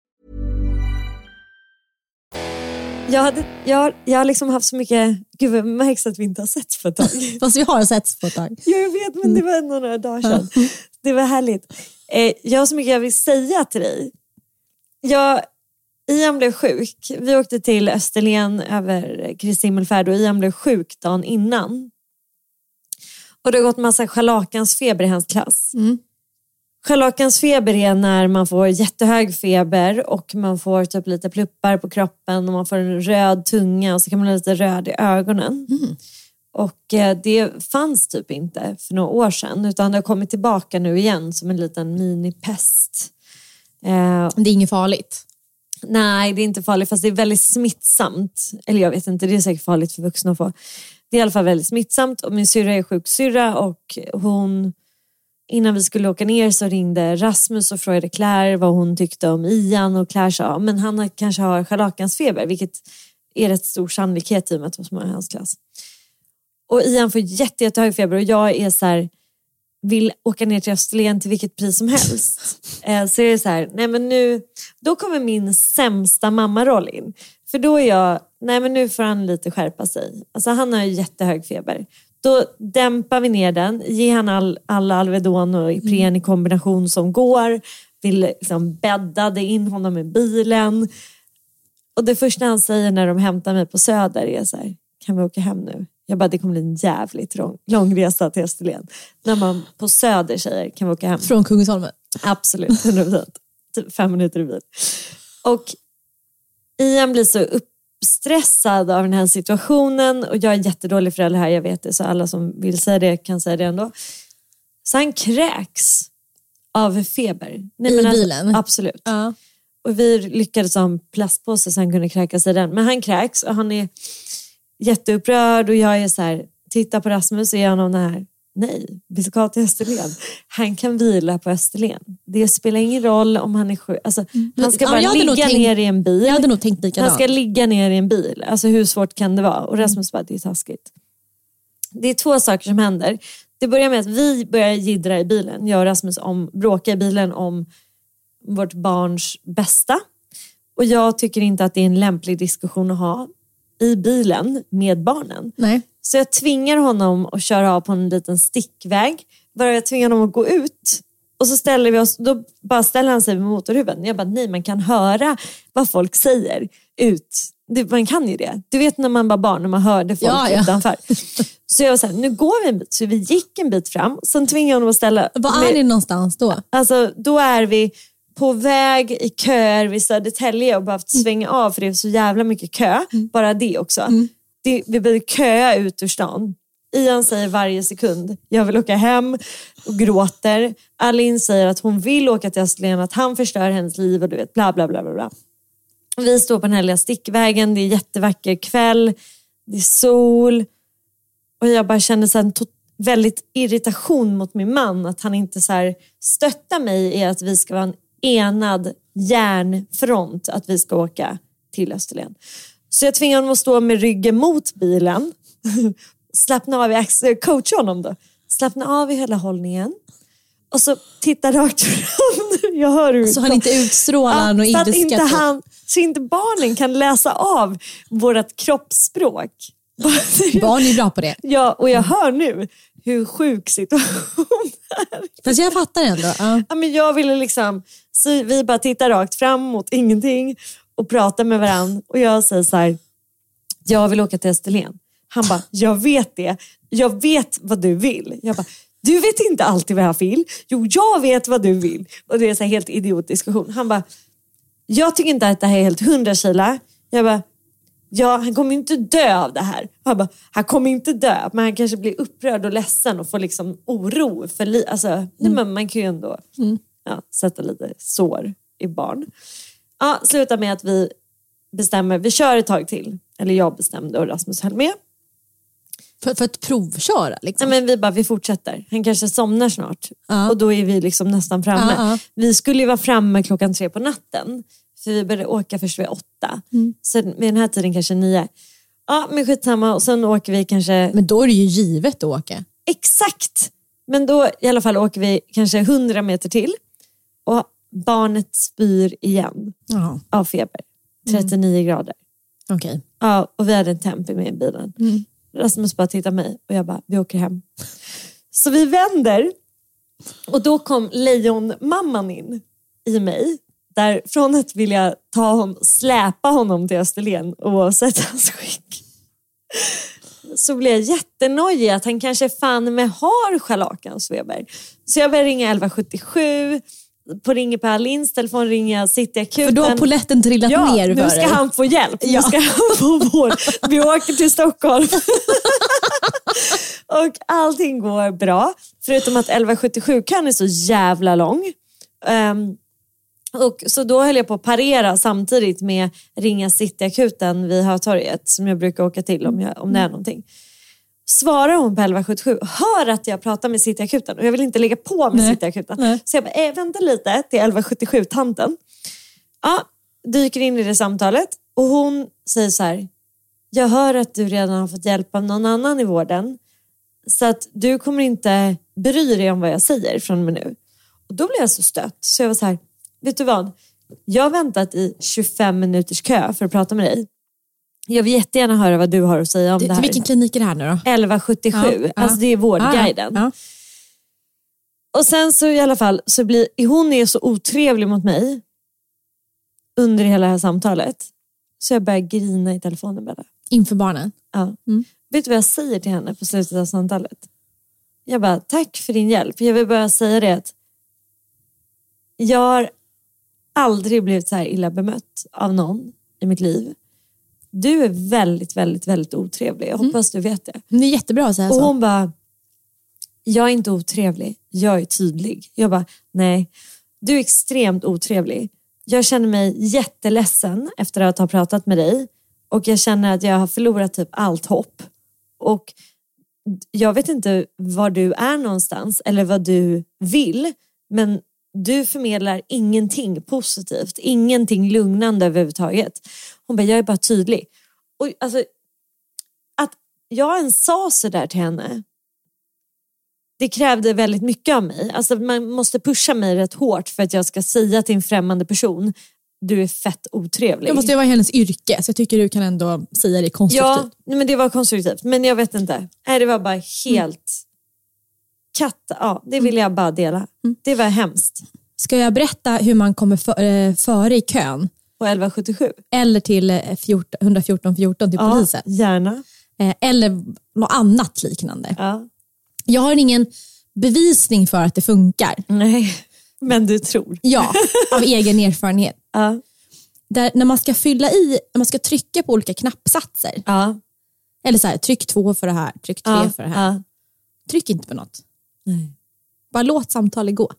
Jag, hade, jag, jag har liksom haft så mycket... Gud, det märks att vi inte har sett på ett tag.
Fast vi har sett på ett tag.
Ja, jag vet, men det var ändå några dagar sedan. Det var härligt. Eh, jag har så mycket jag vill säga till dig. Jag, Ian blev sjuk. Vi åkte till Österlen över Kristi himmelfärd och Ian blev sjuk dagen innan. Och det har gått massa scharlakansfeber i hans klass. Mm. Scharlakansfeber är när man får jättehög feber och man får typ lite pluppar på kroppen och man får en röd tunga och så kan man bli lite röd i ögonen. Och eh, det fanns typ inte för några år sedan utan det har kommit tillbaka nu igen som en liten minipest. Eh,
Det är inget farligt.
Nej, det är inte farligt fast det är väldigt smittsamt. Eller jag vet inte, det är säkert farligt för vuxna att få. Det är i alla fall väldigt smittsamt och min syrra är sjuksyrra och hon Innan vi skulle åka ner så ringde Rasmus och frågade Claire vad hon tyckte om Ian och Claire sa "Ja, men han har- kanske har scharlakansfeber vilket är rätt stor sannolikhet i och med att det var så många i hans klass. Och Ian får jätte, jättehög feber och jag är så här vill åka ner till Österlen till vilket pris som helst. Eh, så är det så här, nej men nu, då kommer min sämsta mammaroll in. För då är jag, nej men nu får han lite skärpa sig. Alltså han har ju jättehög feber. Då dämpar vi ner den, ger han all, alla Alvedon och Ipren i kombination som går. Vi liksom bäddade in honom i bilen. Och det första han säger när de hämtar mig på Söder är så här, kan vi åka hem nu? Jag bara, det kommer bli en jävligt lång, lång resa till Österlen. När man på Söder säger, kan vi åka hem?
Från Kungsholmen.
Absolut, 100 procent. Typ fem minuter i bil. Och Ian blir så uppstressad av den här situationen och jag är en jättedålig förälder här, jag vet det, så alla som vill säga det kan säga det ändå. Så han kräks av feber. Nej,
I
men alltså-
bilen?
Absolut. Och vi lyckades ha en plastpåse så han kunde kräkas i den. Men han kräks och han är jätteupprörd och jag är så här, titta på Rasmus och gör honom den här, nej, vi ska till Österlen. Han kan vila på Österlen. Det spelar ingen roll om han är sjuk. Alltså, han ska
Mm. ja, jag
bara
hade nog
ligga
tänkt-
ner i en bil.
Jag hade nog tänkt
Han
likadant.
ska ligga ner i en bil. Alltså hur svårt kan det vara? Och Rasmus bara, det är taskigt. Det är två saker som händer. Det börjar med att vi börjar jiddra i bilen. Jag och Rasmus om, bråkar i bilen om vårt barns bästa. Och jag tycker inte att det är en lämplig diskussion att ha i bilen med barnen.
Nej.
Så jag tvingar honom att köra av på en liten stickväg. Bara jag tvingar honom att gå ut. Och så ställer vi oss, då bara ställer han sig vid motorhuven. Jag bara, nej man kan höra vad folk säger ut. Det, man kan ju det. Du vet när man var barn och man hörde folk
Ja, ja.
utanför. Så jag var så här, nu går vi en bit. Så vi gick en bit fram. Sen tvingade jag honom att ställa...
Var
med-
är ni någonstans då?
Alltså, då är vi på väg i köer vid Södertälje och behövt svänga av för det är så jävla mycket kö. Bara det också. Det, vi behöver köa ut ur stan. Ian säger varje sekund, jag vill åka hem och gråter. Alin säger att hon vill åka till Österlen, att han förstör hennes liv och du vet bla bla bla bla. bla. Vi står på den här lilla stickvägen, det är jättevacker kväll, det är sol. Och jag bara känner så här en tot- väldigt irritation mot min man. Att han inte så här stöttar mig i att vi ska vara en enad järnfront. Att vi ska åka till Österlen. Så jag tvingade honom att stå med ryggen mot bilen. Slappna av i axeln, coacha honom då. Slappna av i hela hållningen. Och så titta rakt fram. Jag hör hur
Så han inte utstrålar och typ.
så att
inte
inte
skrattar.
han, Så inte barnen kan läsa av vårt kroppsspråk.
Barn är bra på det.
Ja, och jag hör nu hur sjuk situationen är.
Fast jag fattar ändå. Ja.
Ja, men jag ville liksom, så vi bara tittar rakt fram mot ingenting och pratar med varandra. Och jag säger så här, jag vill åka till Österlen. Han bara, jag vet det. Jag vet vad du vill. Jag bara, du vet inte alltid vad jag vill. Jo, jag vet vad du vill. Och det är så här helt idiot diskussion. Han bara, jag tycker inte att det här är helt hundra kilo. Jag bara, ja, han kommer ju inte dö av det här. Han bara, han kommer inte dö, men han kanske blir upprörd och ledsen och får liksom oro för livet. Alltså, nej, men man kan ju ändå ja, sätta lite sår i barn. Ja, sluta med att vi bestämmer, vi kör ett tag till. Eller jag bestämde och Rasmus höll med.
För, för att provköra.
Nej,
Liksom.
men vi bara, vi fortsätter. Han kanske somnar snart. Och då är vi liksom nästan framme.
Ja, ja.
Vi skulle ju vara framme klockan tre på natten. För vi började åka först vid åtta.
Mm.
Så vid den här tiden kanske nio. Ja, men skitsamma. Och sen åker vi kanske...
Men då är det ju givet att åka.
Exakt! Men då i alla fall åker vi kanske hundra meter till. Och barnet spyr igen
Ja.
av feber.
Mm.
39 grader.
Okej.
Ja, och vi hade en tempi med i bilen.
Mm.
Rasmus bara tittar på mig och jag bara, vi åker hem. Så vi vänder och då kom lejonmamman in i mig. Där från att vilja ta hon, släpa honom till Österlen oavsett hans skick. Så blev jag jättenojig att han kanske fan med har scharlakansfeber. Så jag började ringa 1177. På ringer Per Linds telefon ringer jag Cityakuten.
För då har poletten trillat
Ja,
ner för
nu ska
dig.
han få hjälp. Nu ska han få vård. Vi åker till Stockholm. och allting går bra. Förutom att 1177-kön är så jävla lång. Ehm, och så då höll jag på att parera samtidigt med ringa Cityakuten vid Hötorget som jag brukar åka till om, jag, om det är någonting. Svarar hon på 1177 hör att jag pratar med Cityakuten och jag vill inte lägga på med Cityakuten. Så jag bara, eh, vänta lite till 1177-tanten. Ja, dyker in i det samtalet och hon säger så här. Jag hör att du redan har fått hjälp av någon annan i vården. Så att du kommer inte bry dig om vad jag säger från och med nu. Och då blev jag så stött så jag var så här. Vet du vad? Jag har väntat i 25 minuters kö för att prata med dig. Jag vill jättegärna höra vad du har att säga om det,
Till
här.
vilken klinik är det här nu då?
1177,
Ja, ja.
alltså det är vårdguiden.
Ja, ja.
Och sen så i alla fall, så blir, hon är så otrevlig mot mig under hela det här samtalet. Så jag börjar grina i telefonen bara.
Inför barnen.
Ja. Vet du vad jag säger till henne på slutet av samtalet? Jag bara, tack för din hjälp. Jag vill bara säga det att jag har aldrig blivit så här illa bemött av någon i mitt liv. Du är väldigt, väldigt, väldigt otrevlig. Jag hoppas du vet det.
Men Det är jättebra att säga
Och
så.
hon bara, jag är inte otrevlig, jag är tydlig. Jag bara, nej, du är extremt otrevlig. Jag känner mig jätteledsen efter att ha pratat med dig och jag känner att jag har förlorat typ allt hopp. Och jag vet inte var du är någonstans eller vad du vill, men du förmedlar ingenting positivt, ingenting lugnande överhuvudtaget. Hon bara, jag är bara tydlig. Och alltså, att jag ens sa sådär till henne, det krävde väldigt mycket av mig. Alltså man måste pusha mig rätt hårt för att jag ska säga till en främmande person, du är fett otrevlig.
Det måste ju vara hennes yrke, så jag tycker du kan ändå säga det
Ja,
konstruktivt.
nej, men det var konstruktivt. Men jag vet inte. Nej, det var bara helt... Katt, ja, det vill jag bara dela.
Mm.
Det var hemskt.
Ska jag berätta hur man kommer för, eh, före i kön?
På 1177.
Eller till eh, 14, 114 14 till
Ja,
polisen?
gärna.
Eh, Eller något annat liknande.
Ja.
Jag har ingen bevisning för att det funkar.
Nej, men du tror.
Ja, av egen erfarenhet.
Ja.
Där, när man ska fylla i, när man ska trycka på olika knappsatser.
Ja,
Eller så här, tryck två för det här, tryck tre
ja,
för det här.
ja.
Tryck inte på något.
Nej.
Bara låt samtalet gå.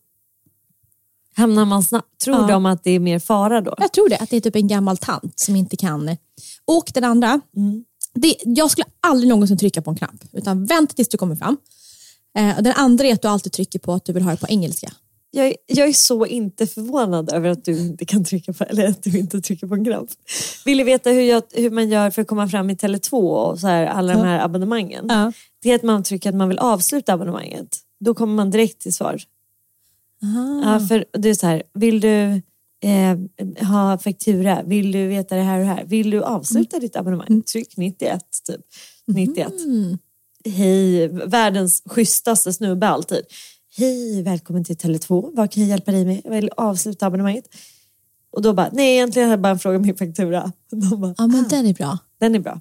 Hamnar man snabbt? Tror
Ja.
de att det är mer fara då?
Jag tror det, att det är typ en gammal tant som inte kan. Och den andra,
Mm.
det, jag skulle aldrig någonsin trycka på en knapp, utan vänta tills du kommer fram. Eh, och den andra är att du alltid trycker på att du vill ha det på engelska.
Jag, jag är så inte förvånad över att du inte kan trycka på, eller att du inte trycker på en knapp. Vill du veta hur, jag, hur man gör för att komma fram i Tele2 och så här, alla de här abonnemangen?
Ja.
Det är att man trycker att man vill avsluta abonnemanget. Då kommer man direkt till svar. Ja,
Mm.
för det är så här, vill du eh, ha faktura? Vill du veta det här och det här? Vill du avsluta
Mm.
ditt abonnemang? Tryck 91, typ. 91. Hej, världens schysstaste snubbe alltid. Hej, välkommen till Tele2. Vad kan jag hjälpa dig med? Jag vill avsluta abonnemanget. Och då bara, nej egentligen är det bara en fråga om min faktura. De bara,
Ja, men den är bra.
den är bra.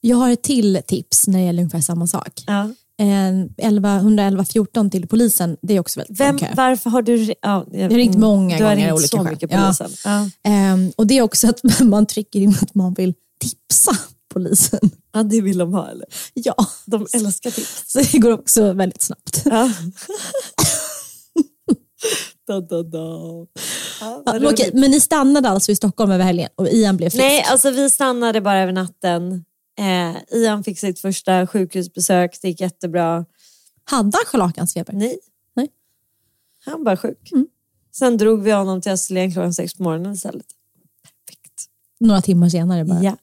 Jag har ett till tips när det gäller ungefär samma sak.
Ja.
Eh, 11, 111 14 till polisen, det är också väldigt
Vem,
lång kö.
Varför har du... Ja,
Jag har ringt många
du har
gånger
ringt
olika
så
skäl.
mycket
Ja.
polisen. Ja.
Ehm, och det är också att man trycker in att man vill tipsa polisen.
ja, det vill de ha eller?
Ja,
De älskar tips.
så det går också väldigt snabbt.
Ja. da, da, da. Ja,
Ja,
vad
men okej,
roligt.
men ni stannade alltså i Stockholm över helgen och Ian blev frisk?
Nej, alltså vi stannade bara över natten. Eh, Ian fick sitt första sjukhusbesök, det gick jättebra.
Hade han scharlakansfeber?
Nej.
Nej.
Han var sjuk. Sen drog vi honom till Österlen klockan sex på morgonen istället.
Några timmar senare bara?
Ja.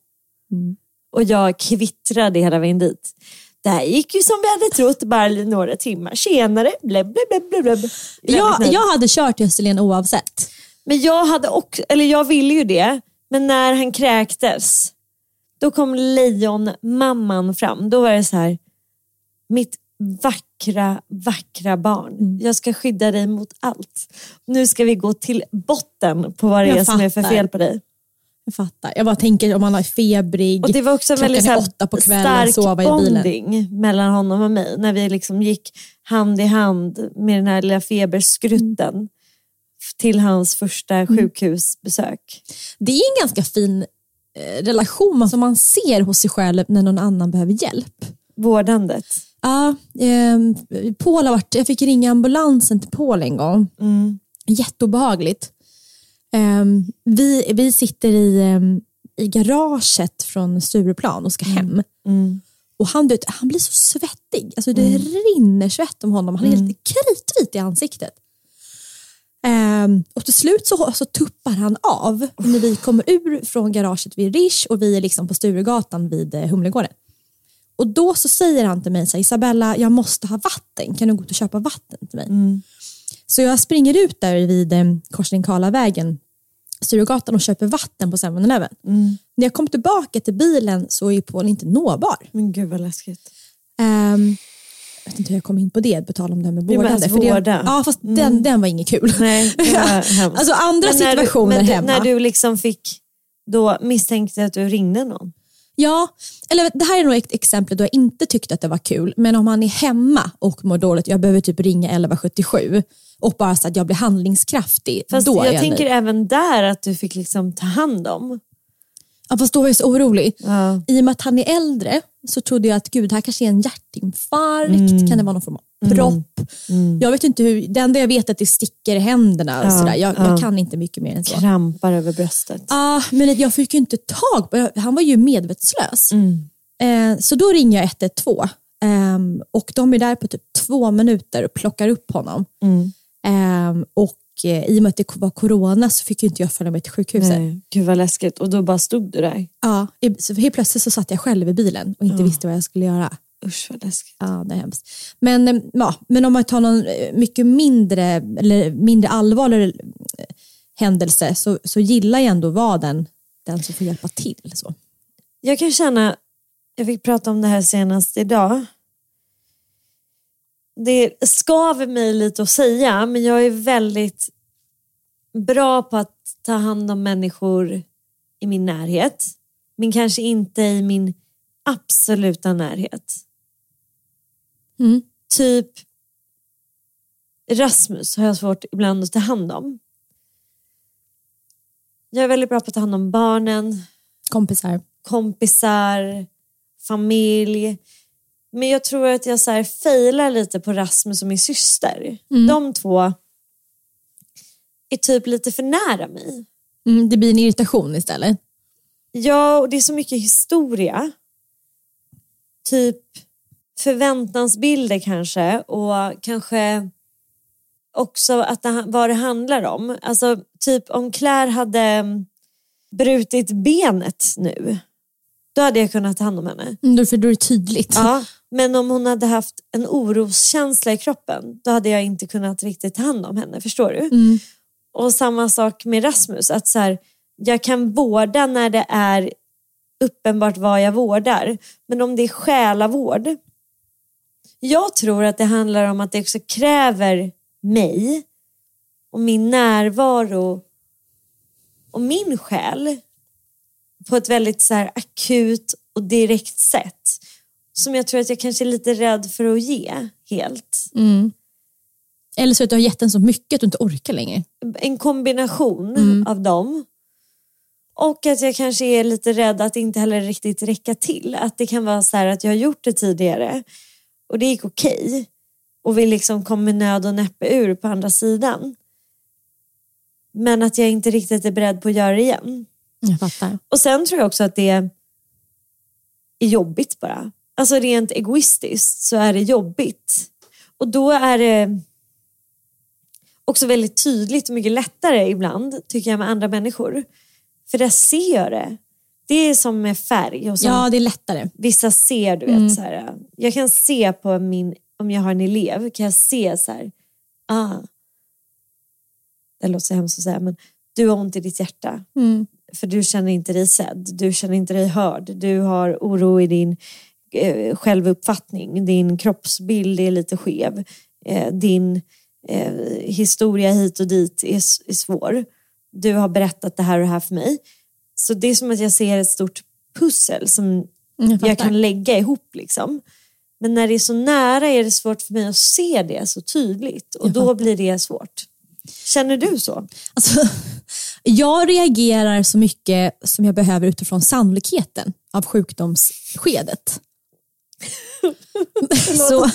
Mm. Och jag kvittrade hela vägen dit. Det här gick ju som vi hade trott, bara några timmar senare. Blä, blä, blä, blä, blä. Väldigt
Jag,
nöjd.
jag hade kört till Österlen oavsett.
Men jag hade också, eller jag ville ju det, men när han kräktes, då kom lejonmamman fram. Då var det så här, mitt vackra, vackra barn.
Mm.
Jag ska skydda dig mot allt. Nu ska vi gå till botten på vad det
Jag
är som är för
fattar.
fel på dig.
Jag fattar. Jag bara tänker om han är febrig,
Och det var också en
klockan
väldigt så
är
här,
åtta på kvällen,
stark
sova i bilen.
bonding mellan honom och mig. När vi liksom gick hand i hand med den här lilla feberskrutten
Mm.
till hans första sjukhusbesök.
Det är en ganska fin eh, relation som man ser hos sig själv när någon annan behöver hjälp.
Vårdandet.
Ja, ehm, Paul har varit, jag fick ringa ambulansen till Paul en gång. Jätteobehagligt. Ehm, vi, vi sitter i, ehm, i garaget från Stureplan och ska hem. Och han, du vet, han blir så svettig. Alltså, det rinner svett om honom. Han är helt kritvit i ansiktet. Ehm, och till slut så, så tuppar han av när vi kommer ur från garaget vid Rish och vi är liksom på Sturegatan vid eh, Humlegården. Och då så säger han till mig, så här, Isabella jag måste ha vatten, kan du gå ut och köpa vatten till mig?
Mm.
Så jag springer ut där vid eh, korsningen Karlavägen, Sturegatan och köper vatten på 7-Eleven.
Mm.
När jag kom tillbaka till bilen så är ju Paul inte nåbar.
Men gud vad läskigt.
Ehm, jag vet inte hur jag kom in på det, på tal om det här med
men
vårdande.
alltså
för det-
vårda.
Ja, fast den, den var inget kul.
Nej, det var hemskt.
alltså andra
Men när du-
situationer
men du,
hemma.
När du liksom fick, då misstänkte att du ringde någon.
Ja, eller det här är nog ett exempel då jag inte tyckte att det var kul, men om han är hemma och mår dåligt, jag behöver typ ringa 1177 och bara så att jag blir handlingskraftig.
Fast
då är
jag,
jag
tänker
nöjd.
även där att du fick liksom ta hand om.
ja, fast då var jag så orolig.
Ja.
I och med att han är äldre så trodde jag att gud, det här kanske är en hjärtinfarkt,
Mm.
kan det vara någon form av propp? Jag vet inte hur, det enda jag vet är att det sticker i händerna. Och
Ja,
sådär. Jag,
ja.
jag kan inte mycket mer än så.
Krampar över bröstet.
Ah, men jag fick ju inte tag på Han var ju medvetslös. Eh, så då ringer jag 112 ehm, och de är där på typ två minuter och plockar upp honom. Ehm, och eh, i och med att det var corona så fick ju inte jag följa med till sjukhuset.
Nej. Gud vad läskigt. Och då bara stod du där.
Ja, i- så helt plötsligt så satt jag själv i bilen och inte visste vad jag skulle göra.
Usch vad läskigt.
Ja, det är hemskt. Men, eh, ja, men om man tar någon eh, mycket mindre, eller mindre allvarlig eh, händelse så, så gillar jag ändå att vara den, den som får hjälpa till. Så.
Jag kan känna, jag fick prata om det här senast idag. Det skaver mig lite att säga, men jag är väldigt bra på att ta hand om människor i min närhet. Men kanske inte i min absoluta närhet.
Mm.
Typ Rasmus har jag svårt ibland att ta hand om. Jag är väldigt bra på att ta hand om barnen,
Kompisar.
kompisar, familj. Men jag tror att jag så här failar lite på Rasmus och min syster. De två är typ lite för nära mig.
Mm, det blir en irritation istället.
Ja, och det är så mycket historia. Typ förväntansbilder kanske och kanske också att det, vad det handlar om. Alltså typ om Claire hade mm, brutit benet nu, då hade jag kunnat ta hand om henne.
Mm, då- för då är det tydligt.
Ja, men om hon hade haft en oroskänsla i kroppen, då hade jag inte kunnat riktigt ta hand om henne. Förstår du?
Mm.
Och samma sak med Rasmus, att så här, jag kan vårda när det är uppenbart vad jag vårdar. Men om det är själavård. Jag tror att det handlar om att det också kräver mig och min närvaro och min själ på ett väldigt så här akut och direkt sätt. Som jag tror att jag kanske är lite rädd för att ge helt.
Mm. Eller så att du har gett den så mycket att du inte orkar längre.
en kombination av dem. Och att jag kanske är lite rädd att inte heller riktigt räcka till. Att det kan vara så här att jag har gjort det tidigare och det gick okej. Och vi liksom kom med nöd och näppe ur på andra sidan. Men att jag inte riktigt är beredd på att göra det igen.
Jag fattar.
Och sen tror jag också att det är jobbigt bara. Alltså rent egoistiskt så är det jobbigt. Och då är det också väldigt tydligt och mycket lättare ibland, tycker jag, med andra människor. För där ser jag det. Det är som med färg och så.
Ja, Mm, det är lättare.
Vissa ser, du vet, så här, äh, jag kan se på min, om jag har en elev, kan jag se så här, ah, det låter så hemskt att säga, men du har ont i ditt hjärta. För du känner inte dig sedd, du känner inte dig hörd, du har oro i din eh, självuppfattning, din kroppsbild är lite skev, eh, din eh, historia hit och dit är, s- är svår. Du har berättat det här och det här för mig. Så det är som att jag ser ett stort pussel som
Jag fattar.
jag kan lägga ihop. Liksom. Men när det är så nära är det svårt för mig att se det så tydligt och då blir det svårt. Känner du så?
Alltså, jag reagerar så mycket som jag behöver utifrån sannolikheten av sjukdomsskedet. så,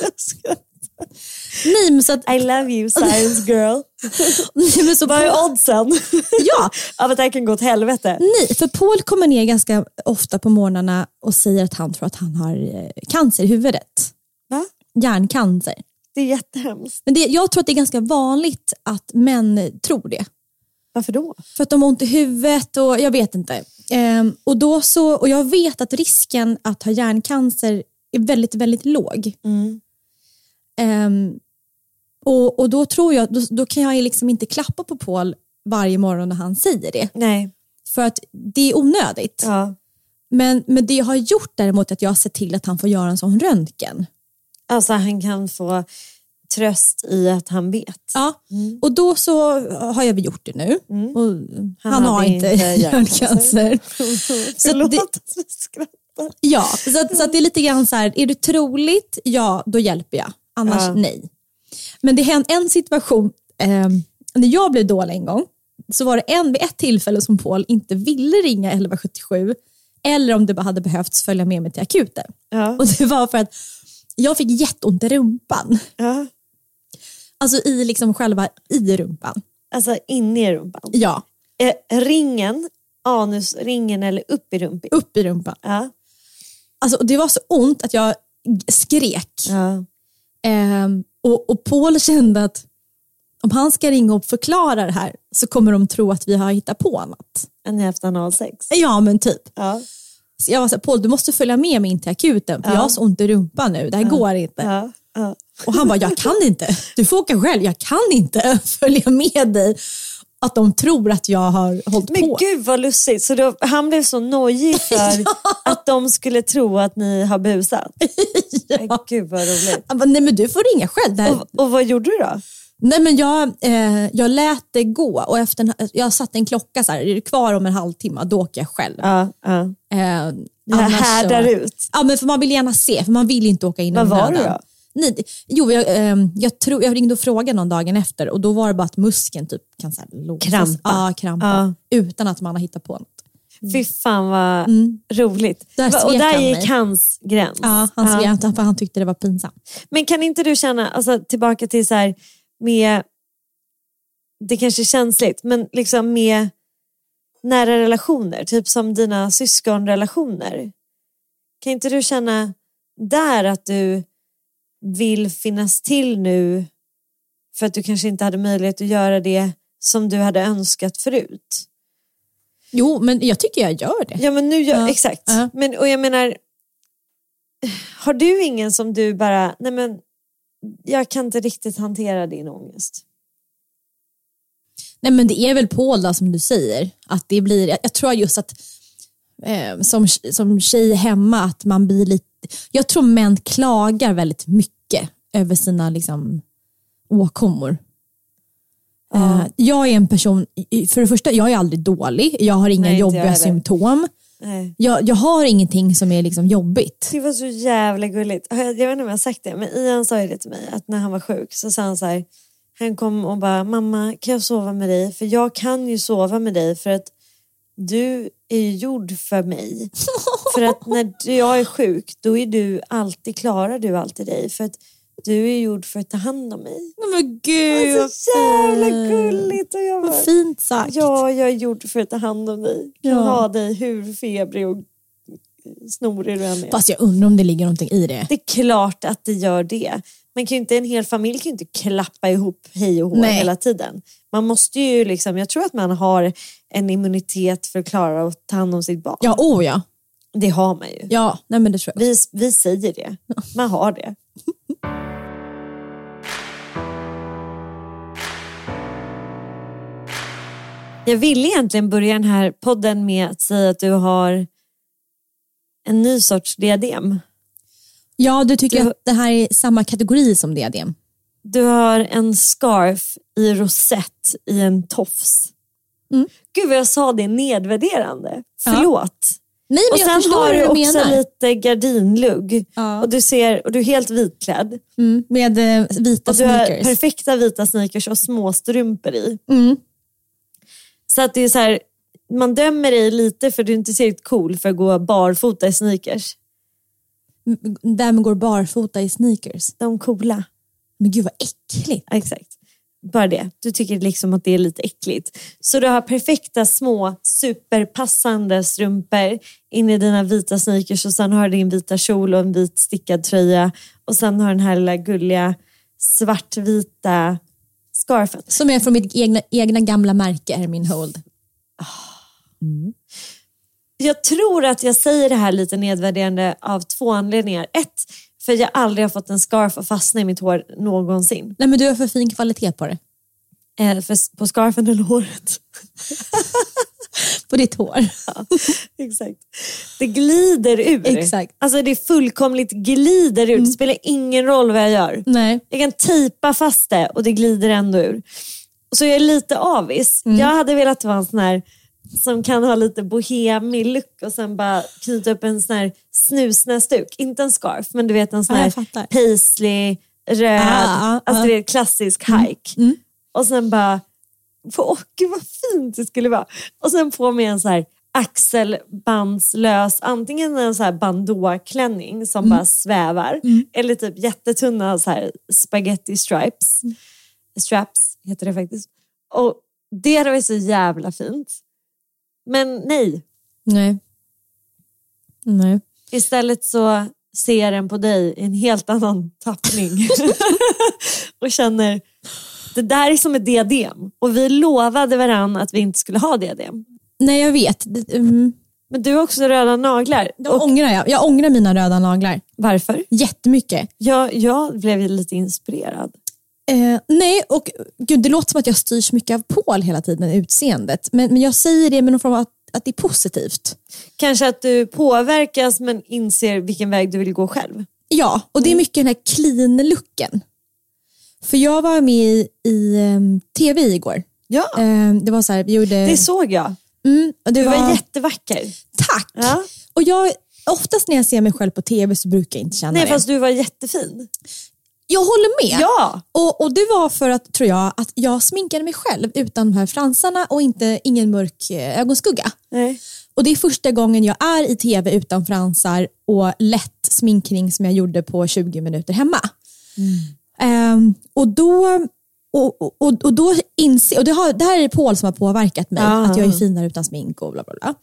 nej, men så att,
I love you science girl.
nej, men så
Vad är
på,
oddsen
ja,
av att det här kan gå åt helvete?
nej, för Paul kommer ner ganska ofta på morgnarna och säger att han tror att han har eh, cancer i huvudet.
Va?
Hjärncancer.
Det är jättehemskt.
Men det, jag tror att det är ganska vanligt att män tror det.
Varför då?
För att de har ont i huvudet och jag vet inte. Ehm, och, då så, och jag vet att risken att ha hjärncancer är väldigt, väldigt låg. Ehm, och, och då tror jag, då, då kan jag ju liksom inte klappa på Paul varje morgon när han säger det.
Nej.
För att det är onödigt.
Ja.
Men, men det jag har gjort däremot är att jag har sett till att han får göra en sån röntgen.
Alltså han kan få tröst i att han vet.
Ja,
Mm.
och då så har jag väl gjort det nu. Och han, har
hade
inte
inte
hjärncancer. Så att
Förlåt
det,
att jag skrattar.
ja, så, att, så att det är lite grann så här, är det troligt, ja då hjälper jag. Annars
Ja.
nej. Men det hände en situation, eh, när jag blev dålig en gång, så var det en vid ett tillfälle som Paul inte ville ringa 1177 eller om det bara hade behövts följa med mig till akuten.
Ja.
Och det var för att jag fick jätteont i rumpan.
Ja.
Alltså i liksom själva i rumpan.
Alltså inne i rumpan.
Ja,
Eh, ringen, anusringen eller upp i rumpan.
upp i rumpan.
Ja.
Alltså, och det var så ont att jag g- skrek.
Ja.
Ehm, och, och Paul kände att om han ska ringa och förklara det här så kommer de tro att vi har hittat på något.
Har ni haft analsex?
Ja, men typ.
Ja.
Så jag var så här, Paul du måste följa med mig in till akuten för jag har så ont i rumpan nu, det här går inte.
Ja. Ja.
Och han bara, jag kan inte. Du får åka själv, jag kan inte följa med dig. Att de tror att jag har hållit
Men
på.
gud vad lustigt. Så då, han blev så nojig för att de skulle tro att ni har busat. Men Gud vad roligt.
Han bara, nej men du får ringa själv. Det här,
Och, och vad gjorde du då?
Nej men jag, eh, jag lät det gå och efter en, jag satte en klocka så här, är det kvar om en halvtimme då åker jag själv.
Ja, ja.
Eh,
Det här
annars så-
härdar ut.
Ja men för man vill gärna se, för man vill ju inte åka in i
Vad var
onödan.
det då?
Nej, det- jo, jag, ehm, jag, tror, jag ringde och frågade någon dagen efter och då var det bara att muskeln typ kan så här låsas.
Krampa.
Ja, krampa.
Ja.
Utan att man har hittat på något.
Fy fan vad roligt.
Mm. Där
Va- och
svek
där
han
gick
mig.
hans gräns.
Ja, han
Ja.
skrek för han tyckte det var pinsamt.
Men kan inte du känna, alltså, tillbaka till så här med, det kanske är känsligt, men liksom med nära relationer, typ som dina syskonrelationer. Kan inte du känna där att du vill finnas till nu För att du kanske inte hade möjlighet att göra det som du hade önskat förut.
Jo, men jag tycker jag gör det.
Ja men nu gör,
Ja.
exakt.
Ja.
Men, och jag menar, har du ingen som du bara, nej men jag kan inte riktigt hantera din ångest.
Nej men det är väl Paul då, som du säger. Att det blir, jag, jag tror just att eh, som, som tjej hemma att man blir lite, jag tror män klagar väldigt mycket över sina liksom, åkommor. Eh, jag är en person, i- för det första, jag är aldrig dålig, jag har inga
Nej, inte jag
jobbiga
heller.
symptom.
Nej.
Jag, jag har ingenting som är liksom jobbigt.
Det var så jävla gulligt. Har Jag jag vet inte om jag har sagt det, men Ian sa ju det till mig att när han var sjuk så sa han så här, han kom och bara, mamma kan jag sova med dig? För jag kan ju sova med dig för att du är ju gjord för mig. För att när du- jag är sjuk då är du alltid, klarar du alltid dig för att du är gjord för att ta hand om mig.
Men gud
Så jävla gulligt! Och jag bara,
Vad fint sagt.
ja, jag är gjord för att ta hand om dig. Kan
Ja.
ha dig hur febrig och snorig du än är.
Fast jag undrar om det ligger någonting i det.
Det är klart att det gör det. Man kan ju inte, en hel familj kan ju inte klappa ihop hej och hå
Nej.
hela tiden. Man måste ju liksom, jag tror att man har en immunitet för att klara att ta hand om sitt barn.
Ja, oh ja.
Det har man ju.
Ja, nej men det tror jag.
Vi, vi säger det. Man har det. Jag ville egentligen börja den här podden med att säga att du har en ny sorts diadem.
Ja, du tycker
Du-
att det här är samma kategori som diadem?
Du har en scarf i rosett i en tofs.
Mm.
Gud vad jag sa det nedvärderande. Förlåt.
Nej, men
Och
jag
sen
förstår
har
hur
du
du
också
menar.
lite gardinlugg.
Ja.
Och, du ser, och du är helt vitklädd.
Mm, med eh, vita
Och du har
sneakers.
perfekta vita sneakers och små strumpor i.
Mm.
Så att det är så här, man dömer dig lite för du är inte tillräckligt cool för att gå barfota i sneakers.
Vem går barfota i sneakers?
De coola.
Men gud vad äckligt.
Ja, Exakt. Bara det. Du tycker liksom att det är lite äckligt. Så du har perfekta små superpassande strumpor in i dina vita sneakers och sen har du din vita kjol och en vit stickad tröja och sen har du den här lilla gulliga svartvita scarfen.
Som är från mitt egna, egna gamla märke, Hermin Hold.
Jag tror att jag säger det här lite nedvärderande av två anledningar. Ett, för jag aldrig har fått en scarf att fastna i mitt hår någonsin.
Nej men du har för fin kvalitet på det.
Eh, för, på scarfen eller håret.
På ditt hår.
Exakt. Det glider ur.
Exakt.
Alltså det är fullkomligt glider ur. Det spelar ingen roll vad jag gör.
Nej.
Jag kan tejpa fast det och det glider ändå ur. Så jag är lite avis.
Mm.
Jag hade velat vara en sån här som kan ha lite bohemig look och sen bara knyta upp en sån här snusnäsduk. Inte en scarf, men du vet en sån
Ja, jag
här
fattar.
paisley, röd,
Ah, ah,
alltså
ah. mm.
du vet klassisk hike. Och sen bara, åh gud vad fint det skulle vara. Och sen på mig en så här axelbandslös, antingen en så här bandåklänning som
Mm.
bara svävar eller typ jättetunna så här spaghetti stripes.
Mm.
Straps heter det faktiskt. Och det hade varit så jävla fint. Men nej,
Nej. Nej.
istället så ser jag den på dig i en helt annan tappning. och känner, det där är som ett diadem. Och vi lovade varandra att vi inte skulle ha diadem.
Nej jag vet. Det, mm.
Men du har också röda naglar.
De ångrar jag. Jag ångrar mina röda naglar.
Varför?
Jättemycket.
Jag, jag blev ju lite inspirerad.
Eh, nej, och gud, det låter som att jag styrs mycket av Paul hela tiden, utseendet. Men, men jag säger det med någon form av att, att det är positivt.
Kanske att du påverkas men inser vilken väg du vill gå själv.
Ja, och
Mm.
det är mycket den här clean-looken. För jag var med i, i ehm, tv igår.
Ja.
Eh, det var så här, vi gjorde...
Det såg jag.
mm, och det
Du
var,
var jättevacker.
Tack!
Ja.
Och jag, oftast när jag ser mig själv på tv så brukar jag inte känna
Nej,
det.
fast du var jättefin.
Jag håller med.
Ja.
Och, och det var för att, tror jag, att jag sminkade mig själv utan de här fransarna och inte, ingen mörk eh, ögonskugga.
Nej.
Och Det är första gången jag är i tv utan fransar och lätt sminkning som jag gjorde på 20 minuter hemma.
Mm.
Ehm, och då och, och, och då inser, och det, har, det här är Paul som har påverkat mig,
Ah. Mm.
att jag är finare utan smink och bla bla bla.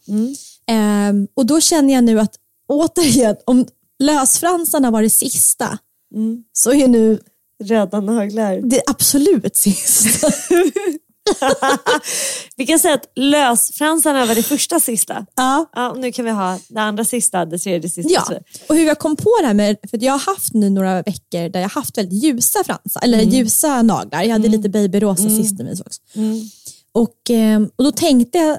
Ehm, och då känner jag nu att återigen, om lösfransarna var det sista, så är nu
Röda naglar.
Det är absolut sist.
Vi kan säga att lösfransarna var det första sista.
ja.
Ja, nu kan vi ha det andra sista, det tredje sista.
Ja, och hur jag kom på det här med, för att jag har haft nu några veckor där jag har haft väldigt ljusa fransar, eller
Mm.
ljusa naglar. Jag hade lite babyrosa sist i mig också.
Mm.
Och, eh, och då tänkte jag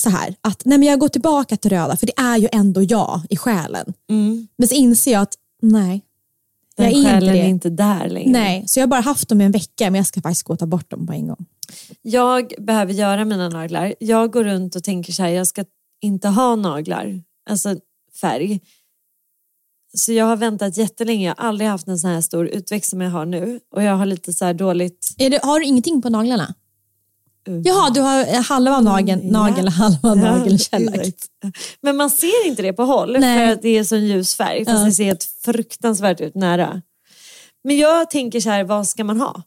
så här, att nej men jag går tillbaka till röda, för det är ju ändå jag i själen. Men så inser jag att nej,
Mm. Den
jag är inte
själen är
det.
inte där längre.
Nej, så jag har bara haft dem i en vecka, men jag ska faktiskt gå och ta bort dem på en gång.
Jag behöver göra mina naglar. Jag går runt och tänker så här, jag ska inte ha naglar. Alltså färg. Så jag har väntat jättelänge. Jag har aldrig haft en sån här stor utväxt som jag har nu. Och jag har lite så här dåligt...
Är det, har du ingenting på naglarna?
Mm.
Jaha, du har eh, halva nageln,
ja.
nagel och halva nagelkällan.
exakt. Men man ser inte det på håll
Nej.
för att det är sån ljus färg. Fast
Ja.
det ser helt fruktansvärt ut nära. Men jag tänker så här, vad ska man ha?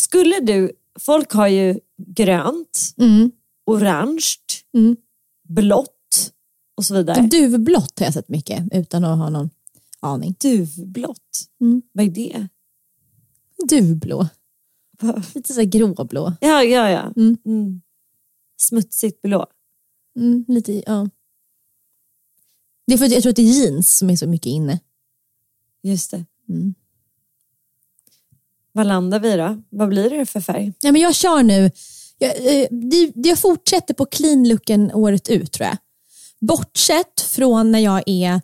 Skulle du... Folk har ju grönt,
Mm.
orange,
Mm.
blått och så vidare.
Duvblått har jag sett mycket utan att ha någon aning.
Duvblått,
Mm.
vad är det?
Duvblå.
Va?
Lite så här gråblå.
Ja, ja, ja.
Mm.
Mm. Smutsigt blå.
Mm, lite, ja. Det är för att jag tror att det är jeans som är så mycket inne.
Just det.
Mm.
Vad landar vi då? Vad blir det för färg?
Ja, men jag kör nu. Jag, eh, det- det- jag fortsätter på clean looken året ut tror jag. Bortsett från när jag är...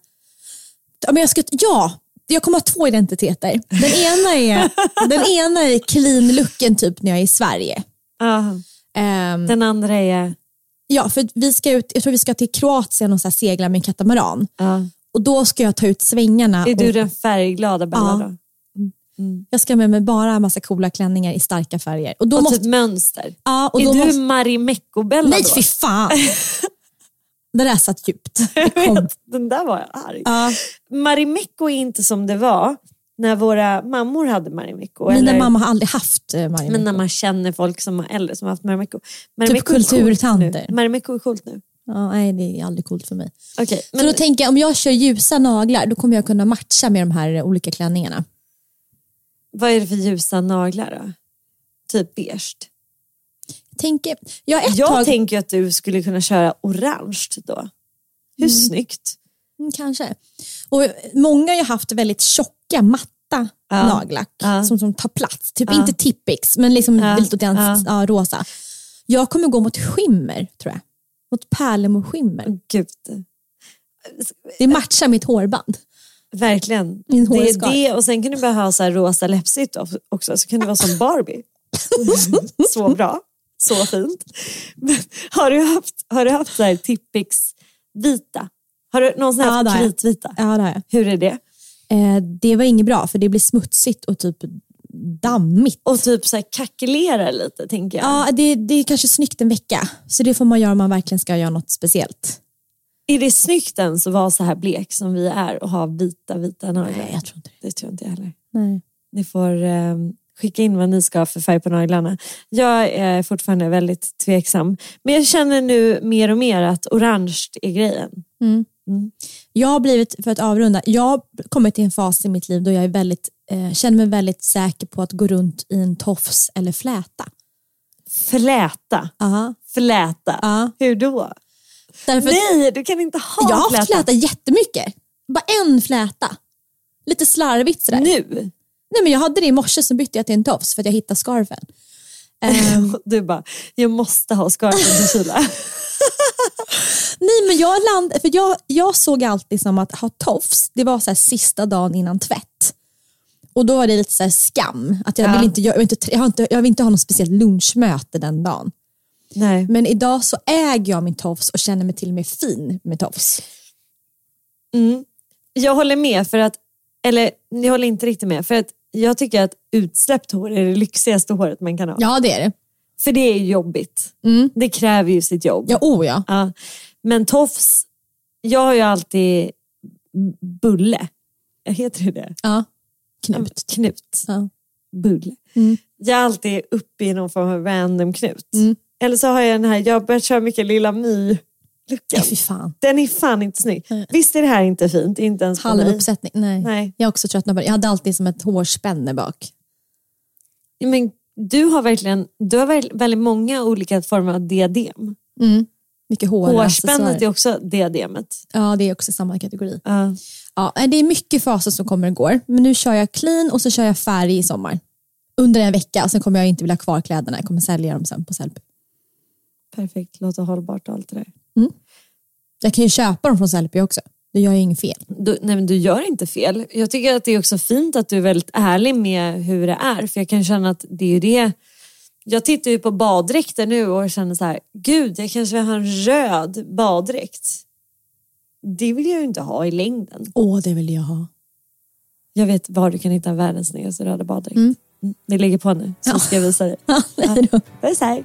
Ja, men jag, ska, ja jag kommer ha två identiteter. Den ena är, den ena är clean looken typ när jag är i Sverige.
Aha.
Ehm,
Den andra är...
Ja, för vi ska ut, jag tror vi ska till Kroatien och så här segla med en katamaran.
Ja.
Och då ska jag ta ut svängarna.
Är du
och
den färgglada Bella
Ja.
då?
jag ska med mig bara en massa coola klänningar i starka färger. Och då
Och
måste,
typ mönster?
ja, och
är
då
du
måste,
Marimekko-Bella
nej,
då?
fy fan! det där satt djupt. Det kom.
Den där var jag arg.
Ja,
Marimekko är inte som det var när våra mammor hade Marimekko.
mina
eller-
mamma har aldrig haft eh, Marimekko. Typ
Men när man känner folk som är äldre som har haft Marimekko. är
kulturtanter.
coolt nu. Marimekko är coolt nu.
ja, nej, det är aldrig coolt för mig.
Okej,
Så då
men
tänker jag, om jag kör ljusa naglar, då kommer jag kunna matcha med de här eh, olika klänningarna.
vad är det för ljusa naglar då? Typ beige.
Tänker, jag har ett
Jag
tag,
tänker ju att du skulle kunna köra orange då. Hur snyggt?
Mm, Kanske. Och många har ju haft väldigt tjocka, matta
Ja.
naglack
Ja.
som, som tar plats. Typ
Ja.
inte tippix, men liksom
Ja.
lite åt den,
Ja.
ja. rosa. Jag kommer gå mot skimmer, tror jag. Mot pärlemorskimmer.
Mm. Gud,
Det matchar mitt hårband.
verkligen.
Min
det
hårskar.
är det och sen kan du börja ha så här rosa läppstift of- också så kan du vara som Barbie. så bra, så fint. Men har du haft, har du haft så här tippix vita? Har du någonsin
Ja, det
haft
har jag.
kritvita?
Ja, det, har jag.
Hur är det?
Eh, det var inget bra, för det blir smutsigt och typ dammigt.
Och typ så här kackelera lite tänker jag.
Ja, det, det är kanske snyggt en vecka, så det får man göra om man verkligen ska göra något speciellt.
Är det snyggt ens att vara så här blek som vi är och ha vita, vita naglar?
Nej, jag tror inte det.
Det tror jag inte jag heller.
Nej.
Ni får eh, skicka in vad ni ska ha för färg på naglarna. Jag är fortfarande väldigt tveksam. Men jag känner nu mer och mer att orange är grejen.
Jag har blivit, för att avrunda, jag har kommit till en fas i mitt liv då jag är väldigt, eh, känner mig väldigt säker på att gå runt i en tofs eller fläta.
Fläta.
Aha.
Fläta.
Ja.
Hur då?
Därför att
Nej, du kan inte ha
jag har
fläta.
haft fläta jättemycket. Bara en fläta. Lite slarvigt sådär.
Nu?
Nej, men jag hade det i morse så bytte jag till en tofs för att jag hittade scarfen. Ehm,
Du bara, jag måste ha scarfen till kyla.
nej, men jag, land, för jag, jag såg alltid som att ha tofs, det var så sista dagen innan tvätt. Och då var det lite så skam. Att jag,
Ja.
vill inte, jag, vill inte, jag, har inte, jag vill inte ha något speciellt lunchmöte den dagen.
Nej.
Men idag så äger jag min tofs och känner mig till och med fin med tofs.
Mm. Jag håller med för att, eller jag håller inte riktigt med för att jag tycker att utsläppt hår är det lyxigaste håret man kan ha.
Ja, det är det.
För det är ju jobbigt.
Mm.
Det kräver ju sitt jobb.
Ja, oh ja.
Ja. Men tofs, jag har ju alltid bulle. Heter det det?
ja. Knut.
Knut.
Ja.
Bulle.
Mm.
Jag är alltid uppe i någon form av random knut.
Mm.
Eller så har jag den här, jag har börjat köra mycket Lilla My luckan.
Nej, fy fan.
Den är fan inte snygg. Visst är det här inte fint? Inte ens på
Halv
mig.
uppsättning. Nej.
Nej.
Jag har också tröttnat på det. Jag hade alltid som ett hårspänne bak.
Men du har verkligen du har väl- väldigt många olika former av diadem.
Mm. Mycket hår.
Hårspännet är också diademet.
Ja, det är också samma kategori.
Ja.
Ja, nej, det är mycket faser som kommer och går. Men nu kör jag clean och så kör jag färg i sommar. Under en vecka. Sen kommer jag inte vilja ha kvar kläderna. Jag kommer sälja dem sen på Sellby.
Perfekt, låter hållbart och allt det där.
Jag kan ju köpa dem från Sellby också. Det gör ju inget fel.
Du, nej men du gör inte fel. Jag tycker att det är också fint att du är väldigt ärlig med hur det är. För jag kan känna att det är ju det. Jag tittar ju på baddräkter nu och känner så här, gud jag kanske vill ha en röd baddräkt. Det vill jag ju inte ha i längden.
Åh, det vill jag ha.
Jag vet var du kan hitta världens snyggaste röda baddräkt. Mm, Vi lägger på nu så ska jag visa dig.
Ja.
Puss hej!